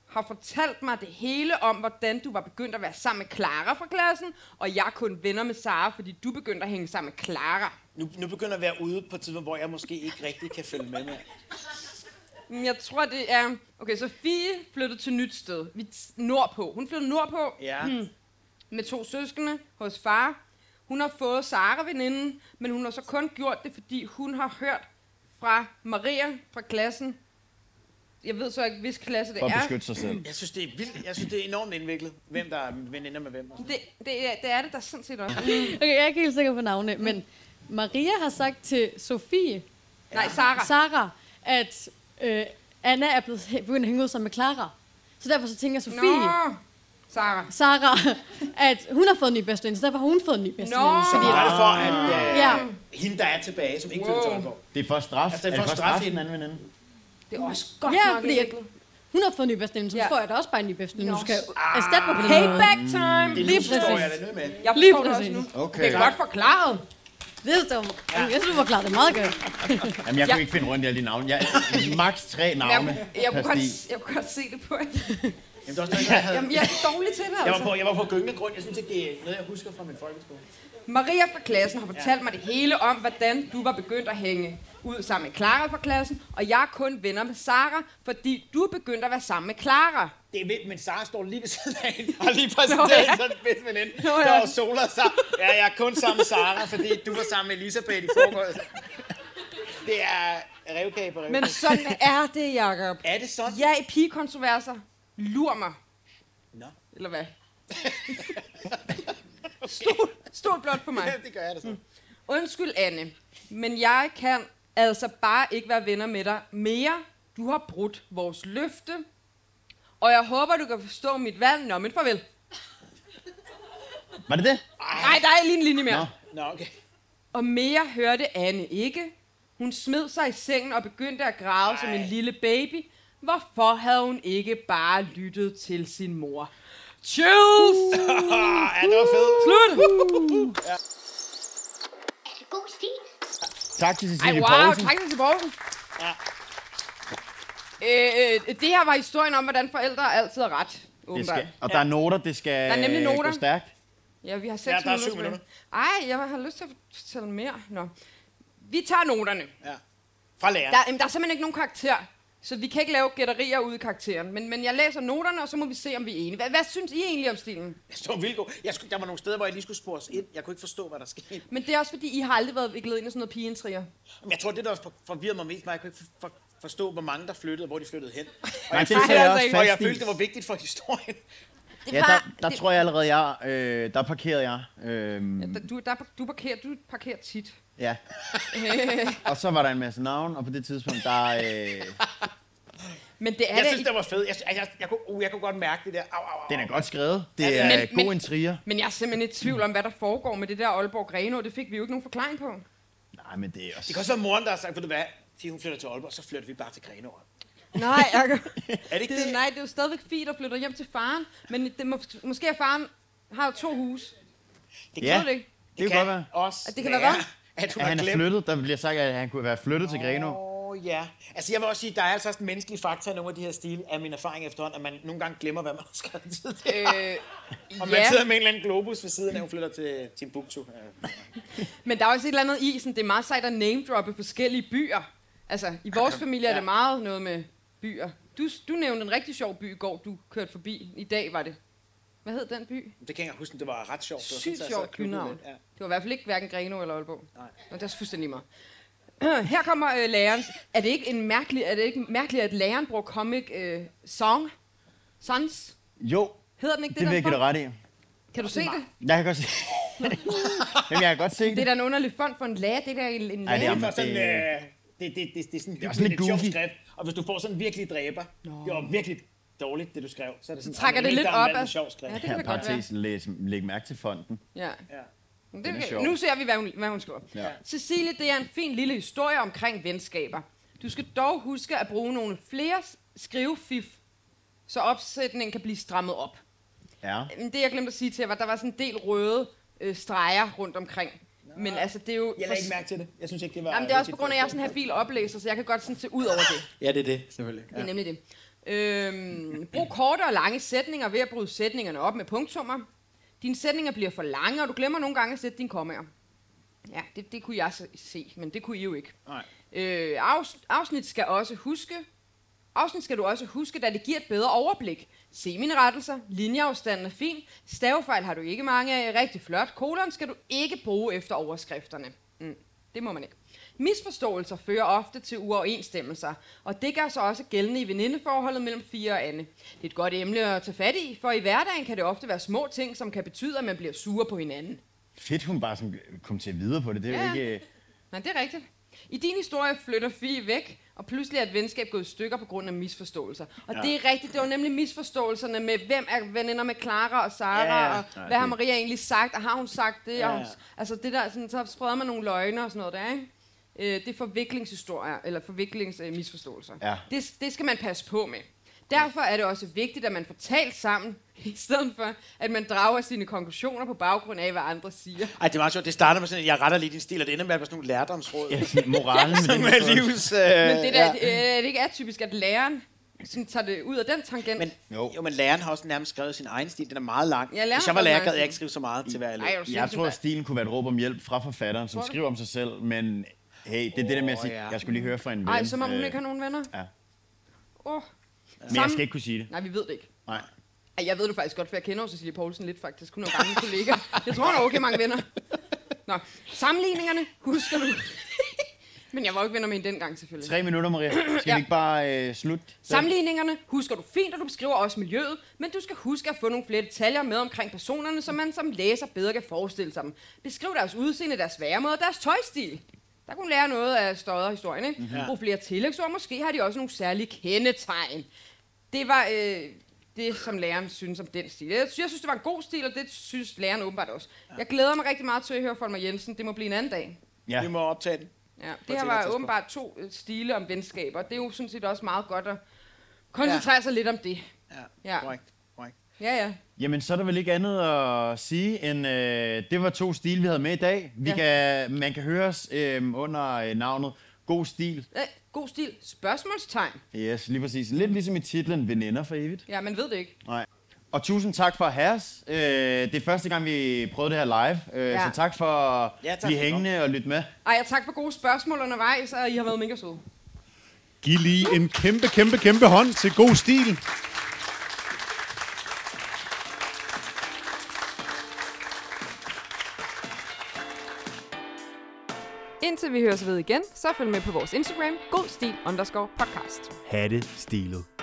har fortalt mig det hele om, hvordan du var begyndt at være sammen med Clara fra klassen, og jeg er kun venner med Sara, fordi du begyndte at hænge sammen med Clara. Nu, nu begynder jeg at være ude på et tidspunkt, hvor jeg måske ikke rigtig kan følge med. med. Mm, Jeg tror, det er... Okay, så Fie flyttede til nyt sted. Vi nordpå. Hun flyttede nordpå. Ja. med to søskende hos far. Hun har fået Sara-veninden, men hun har så kun gjort det, fordi hun har hørt fra Maria fra klassen, jeg ved så ikke, hvis klasse det for at er. beskytte sig selv. Jeg synes, det er vildt. Jeg synes, det er enormt indviklet, hvem der er veninder med hvem. og sådan. Det, det, er- det er det der sådan set også. Okay, jeg er ikke helt sikker på navne, men Maria har sagt til Sofie, Nej, Sara. Sara, at øh, Anna er blevet, begyndt at hænge ud sammen med Clara. Så derfor så tænker Sofie, Nå, Sara. Sara, at hun har fået en ny bedsteveninde, så derfor har hun fået en ny bedsteveninde. Nå. Det Fordi, er bare for, at øh, ja, hende, der er tilbage, som ikke føler sig overfor. Det er for at straffe. Altså, det er er for at straffe den hende. anden veninde. Det er også godt ja nok fordi at indviklet. hun har fået en ny bedsteveninde, så Ja. får jeg da også bare en ny bedsteveninde. Nå. Ah. Nu skal jeg erstatte mig på den måde. Payback time. Det er Lige nu, så står præcis. jeg der nede med. Jeg Lige forstår det også præcis. nu. Okay. Det er godt forklaret. Det, det var, jeg synes, du var klar, det er meget godt. Jamen, jeg Ja. kunne ikke finde rundt i alle de navne. Jeg, max tre Jeg, navne. jeg, kunne per godt, stil. jeg kunne godt se det på jer. Jamen, det er også noget, jeg havde. Jamen, jeg er dårlig til det, Jeg var altså. på, jeg var på gyngende grund. Jeg synes ikke, det er noget, jeg husker fra min folkeskole. Maria fra klassen har fortalt mig det hele om, hvordan du var begyndt at hænge ud sammen med Clara fra klassen, og jeg er kun venner med Sara, fordi du er begyndt at være sammen med Clara. Det er vildt, men Sara står lige ved siden af hende, og lige præsenteret Nå, ja. sådan en bedst veninde. Nå, ja. Der var soler sig. Ja, jeg er kun sammen med Sara, fordi du var sammen med Elisabeth i forgårs. Det er revkage på revkage. Men sådan er det, Jacob. er det sådan? Ja, i pigekontroverser. Lur mig. Nå. Eller hvad? Stol, stol blot på mig. Mm. det gør jeg da så. Undskyld, Anne, men jeg kan altså bare ikke være venner med dig mere. Du har brudt vores løfte, og jeg håber, du kan forstå mit valg. Nå, men farvel. Var det det? Nej, der er lige en linje mere. Nå. Nå, okay. Og mere hørte Anne ikke. Hun smed sig i sengen og begyndte at græde Ej. som en lille baby. Hvorfor havde hun ikke bare lyttet til sin mor? Chills! Ah, ja, det var fedt. Slut! Er det god stil? Tak til Ej, Cecilie wow, Poulsen. tak til Borgen. Ja. Øh, øh, det her var historien om, hvordan forældre altid har ret, Det åbenbart. skal, og der er noter, det skal Der er nemlig øh, noter. gå stærkt. Ja, vi har 6 Ja, der er syv minutter. tilbage. Ej, jeg har lyst til at fortælle mere. Nå. Vi tager noterne. Ja. Fra læreren. Der, jamen, der er simpelthen ikke nogen karakter, så vi kan ikke lave gætterier ude i karakteren. Men, men jeg læser noterne, og så må vi se, om vi er enige. Hvad, hvad synes I egentlig om stilen? Jeg stod vildt god. Jeg skulle, der var nogle steder, hvor jeg lige skulle spores ind. Jeg kunne ikke forstå, hvad der skete. Men det er også, fordi I har aldrig været viklet ind i sådan noget pigeintriger. Men jeg tror, det der for- forvirrede mig mest, var, at jeg kunne ikke for- for- forstå, hvor mange der flyttede, og hvor de flyttede hen. Og Nej, jeg, det følte, skal jeg også altså ikke. og jeg fast i. følte, det var vigtigt for historien. Det Ja, der, der tror jeg allerede, jeg, øh, der parkerede jeg. Øh, Der, du, der, du, parkerer, du parkerer tit. ja. og så var der en masse navn, og på det tidspunkt, der... Øh, Men det er Jeg det synes, det var fedt. Jeg, jeg, jeg, jeg, kunne, uh, jeg kunne godt mærke det der. Au, au, au. den er godt skrevet. Det Ja, er men- god men- intriger. Men jeg er simpelthen i tvivl om, hvad der foregår med det der Aalborg Greno. Det fik vi jo ikke nogen forklaring på. Nej, men det er også... Det kan også være moren, der har sagt, ved du hvad, fordi hun flytter til Aalborg, så flytter vi bare til Grenaa. Nej, jeg... Er det ikke det, det? nej, det er jo stadigvæk fint at flytte hjem til faren. Men det må, måske er faren har jo to hus. Det Ja, Ved du det ikke? det kan godt være. også At det kan være at hun At han har er glemt. flyttet, der bliver sagt, at han kunne være flyttet til Grenaa. Åh, oh, ja. Altså, jeg vil også sige, der er altså også en menneskelig faktor i nogle af de her stile, af min erfaring efterhånden, at man nogle gange glemmer, hvad man har skrevet tidligere. Øh, Og man ja, sidder med en eller anden globus ved siden af, hun flytter til Timbuktu. Øh, men der er også et eller andet i, sådan, det er meget sejt at name-droppe forskellige byer. Altså, i vores familie er det meget noget med byer. Du, du nævnte en rigtig sjov by i går, du kørte forbi. I dag var det. Hvad hed den by? Det kan jeg huske, det var ret sjovt. Det var Sygt sådan, så jeg sad sjovt og klukkede københavn. lidt. Ja. Det var i hvert fald ikke hverken Greno eller Aalborg. Nej. Og det er fuldstændig mig. Her kommer øh, læreren. Er det ikke en mærkelig, er det ikke mærkeligt, at læreren bruger comic øh, song? Sans? Jo, Hedder den ikke det, det vil den jeg give dig fond? ret i. Kan du se det? Jeg kan godt se... Jamen, jeg kan godt se Det er det. da en underlig fond for en lærer. Det er da en, en Ej, det lærer. er- For sådan, det- øh, det, det, det, det er sådan er det også lidt lidt sjovt goofy. skrift. Og hvis du får sådan virkelig dræber, det var virkelig dårligt, det du skrev, så er det sådan, trækker "Jamen, det ikke, lidt der er op en mand med af- sjov skrift. Ja, det Ja, kan det godt være. parentes, læs, læg mærke til fonden. Ja. Ja. Men Den Det, er okay. sjov. Nu ser vi, hvad hun, hvad hun skriver. Ja. Cecilie, det er en fin lille historie omkring venskaber. Du skal dog huske at bruge nogle flere s- skrivefif, så opsætningen kan blive strammet op. Ja. Men det, jeg glemte at sige til jer, var, at der var sådan en del røde øh, streger rundt omkring. Men altså, det er jo... Jeg lagde ikke mærke til det. Jeg synes ikke, det var... Jamen, det er også vigtigt på grund af, at jeg er for- sådan her bil oplæser, så jeg kan godt sådan se ud over det. Ja, det er det, selvfølgelig. Det er nemlig det. Øhm, brug korte og lange sætninger ved at bryde sætningerne op med punktummer. Dine sætninger bliver for lange, og du glemmer nogle gange at sætte dine kommaer. Ja, det, det kunne jeg se- se, men det kunne I jo ikke. Nej. Øh, afs- afsnit skal også huske, afsnit skal du også huske, da det giver et bedre overblik. Se mine rettelser, linjeafstanden er fin, stavefejl har du ikke mange af, rigtig flot, kolon skal du ikke bruge efter overskrifterne. Mm. Det må man ikke. Misforståelser fører ofte til uoverensstemmelser, og det gør sig også gældende i venindeforholdet mellem fire og Anne. Det er et godt emne at tage fat i, for i hverdagen kan det ofte være små ting, som kan betyde, at man bliver sur på hinanden. Fedt, hun bare sådan kom til at videre på det. Det er Ja. jo ikke... øh, Nej, det er rigtigt. I din historie flytter Fie væk, og pludselig er et venskab gået i stykker på grund af misforståelser. Og ja. det er rigtigt, det var nemlig misforståelserne med, hvem er veninder med Clara og Sara, Ja, ja. og Nej, hvad har Maria egentlig sagt, og har hun sagt det? Ja, Ja. Og hun, ja. altså det der, sådan, så spreder man nogle løgne og sådan noget der, ikke? Øh, det er forviklingshistorier, eller forviklingsmisforståelser. Ja. Det, det skal man passe på med. Derfor er det også vigtigt, at man får talt sammen, i stedet for, at man drager sine konklusioner på baggrund af, hvad andre siger. Ej, det er meget sjovt. Det starter med sådan, at jeg retter lige din stil, og det ender med at være sådan nogle lærdomsråd. Ja, sådan moralen. Som er livs... Øh, Men det der, ja. øh, det ikke er typisk, at læreren sådan, tager det ud af den tangent. Men, Men, jo. Jo. jo, men læreren har også nærmest skrevet sin egen stil. Den er meget lang. Ja, læreren Hvis jeg har var lærer, skrevet gad jeg lang. ikke skrive så meget til hver elev. Ej, er du Jeg sindssyg, tror, at mand. stilen kunne være et råb om hjælp fra forfatteren, som Tror du? skriver om sig selv, men hey, det er det der med at sige, Åh, ja. jeg skulle lige høre fra en ven. Ej, som om hun øh, ikke har nogen venner. ja. Oh. Men jeg skal ikke kunne sige det. Nej, vi ved det ikke. Nej. Ej, jeg ved det faktisk godt, for jeg kender jo Cecilie Poulsen lidt faktisk. Hun er jo gammel kollega. Jeg tror, hun har okay mange venner. Nå, sammenligningerne husker du. Men jeg var jo ikke venner med hende dengang, selvfølgelig. Tre minutter, Maria. Skal Ja. vi ikke bare øh, slutte? den? Sammenligningerne husker du fint, og du beskriver også miljøet, men du skal huske at få nogle flere detaljer med omkring personerne, så man som læser bedre kan forestille sig dem. Beskriv deres udseende, deres væremåde og deres tøjstil. Der kunne lære noget af stodderhistorien, ikke? Mm-hmm. Brug flere tillægsord, måske har de også nogle særlige kendetegn. Det var øh, det, som læreren synes om den stil. Jeg synes, jeg synes, det var en god stil, og det synes læreren åbenbart også. Jeg glæder mig rigtig meget til at høre fra mig Jensen. Det må blive en anden dag. Ja. Vi må optage den. Ja, det et her senere var tidspunkt. åbenbart to øh, stile om venskaber. Det er jo sådan set også meget godt at koncentrere ja. sig lidt om det. Ja, Ja. korrekt. korrekt. Ja, ja. Jamen, så er der vel ikke andet at sige, end øh, det var to stil, vi havde med i dag. Vi Ja. ja. kan, man kan høre os øh, under øh, navnet God Stil. Øh, god stil. Spørgsmålstegn. Yes, lige præcis. Lidt ligesom i titlen Veninder for evigt. Ja, man ved det ikke. Nej. Og tusind tak for at have os. Øh, det er første gang, vi prøvede det her live. Øh, Ja. ja. Så tak for at Ja, tak blive for det. hængende og lytte med. Ej, og tak for gode spørgsmål undervejs, og I har været mega søde. Giv lige en kæmpe, kæmpe, kæmpe hånd til god stil. Indtil vi høres ved igen, så følg med på vores Instagram, godstil underscore podcast. Hatte stilet.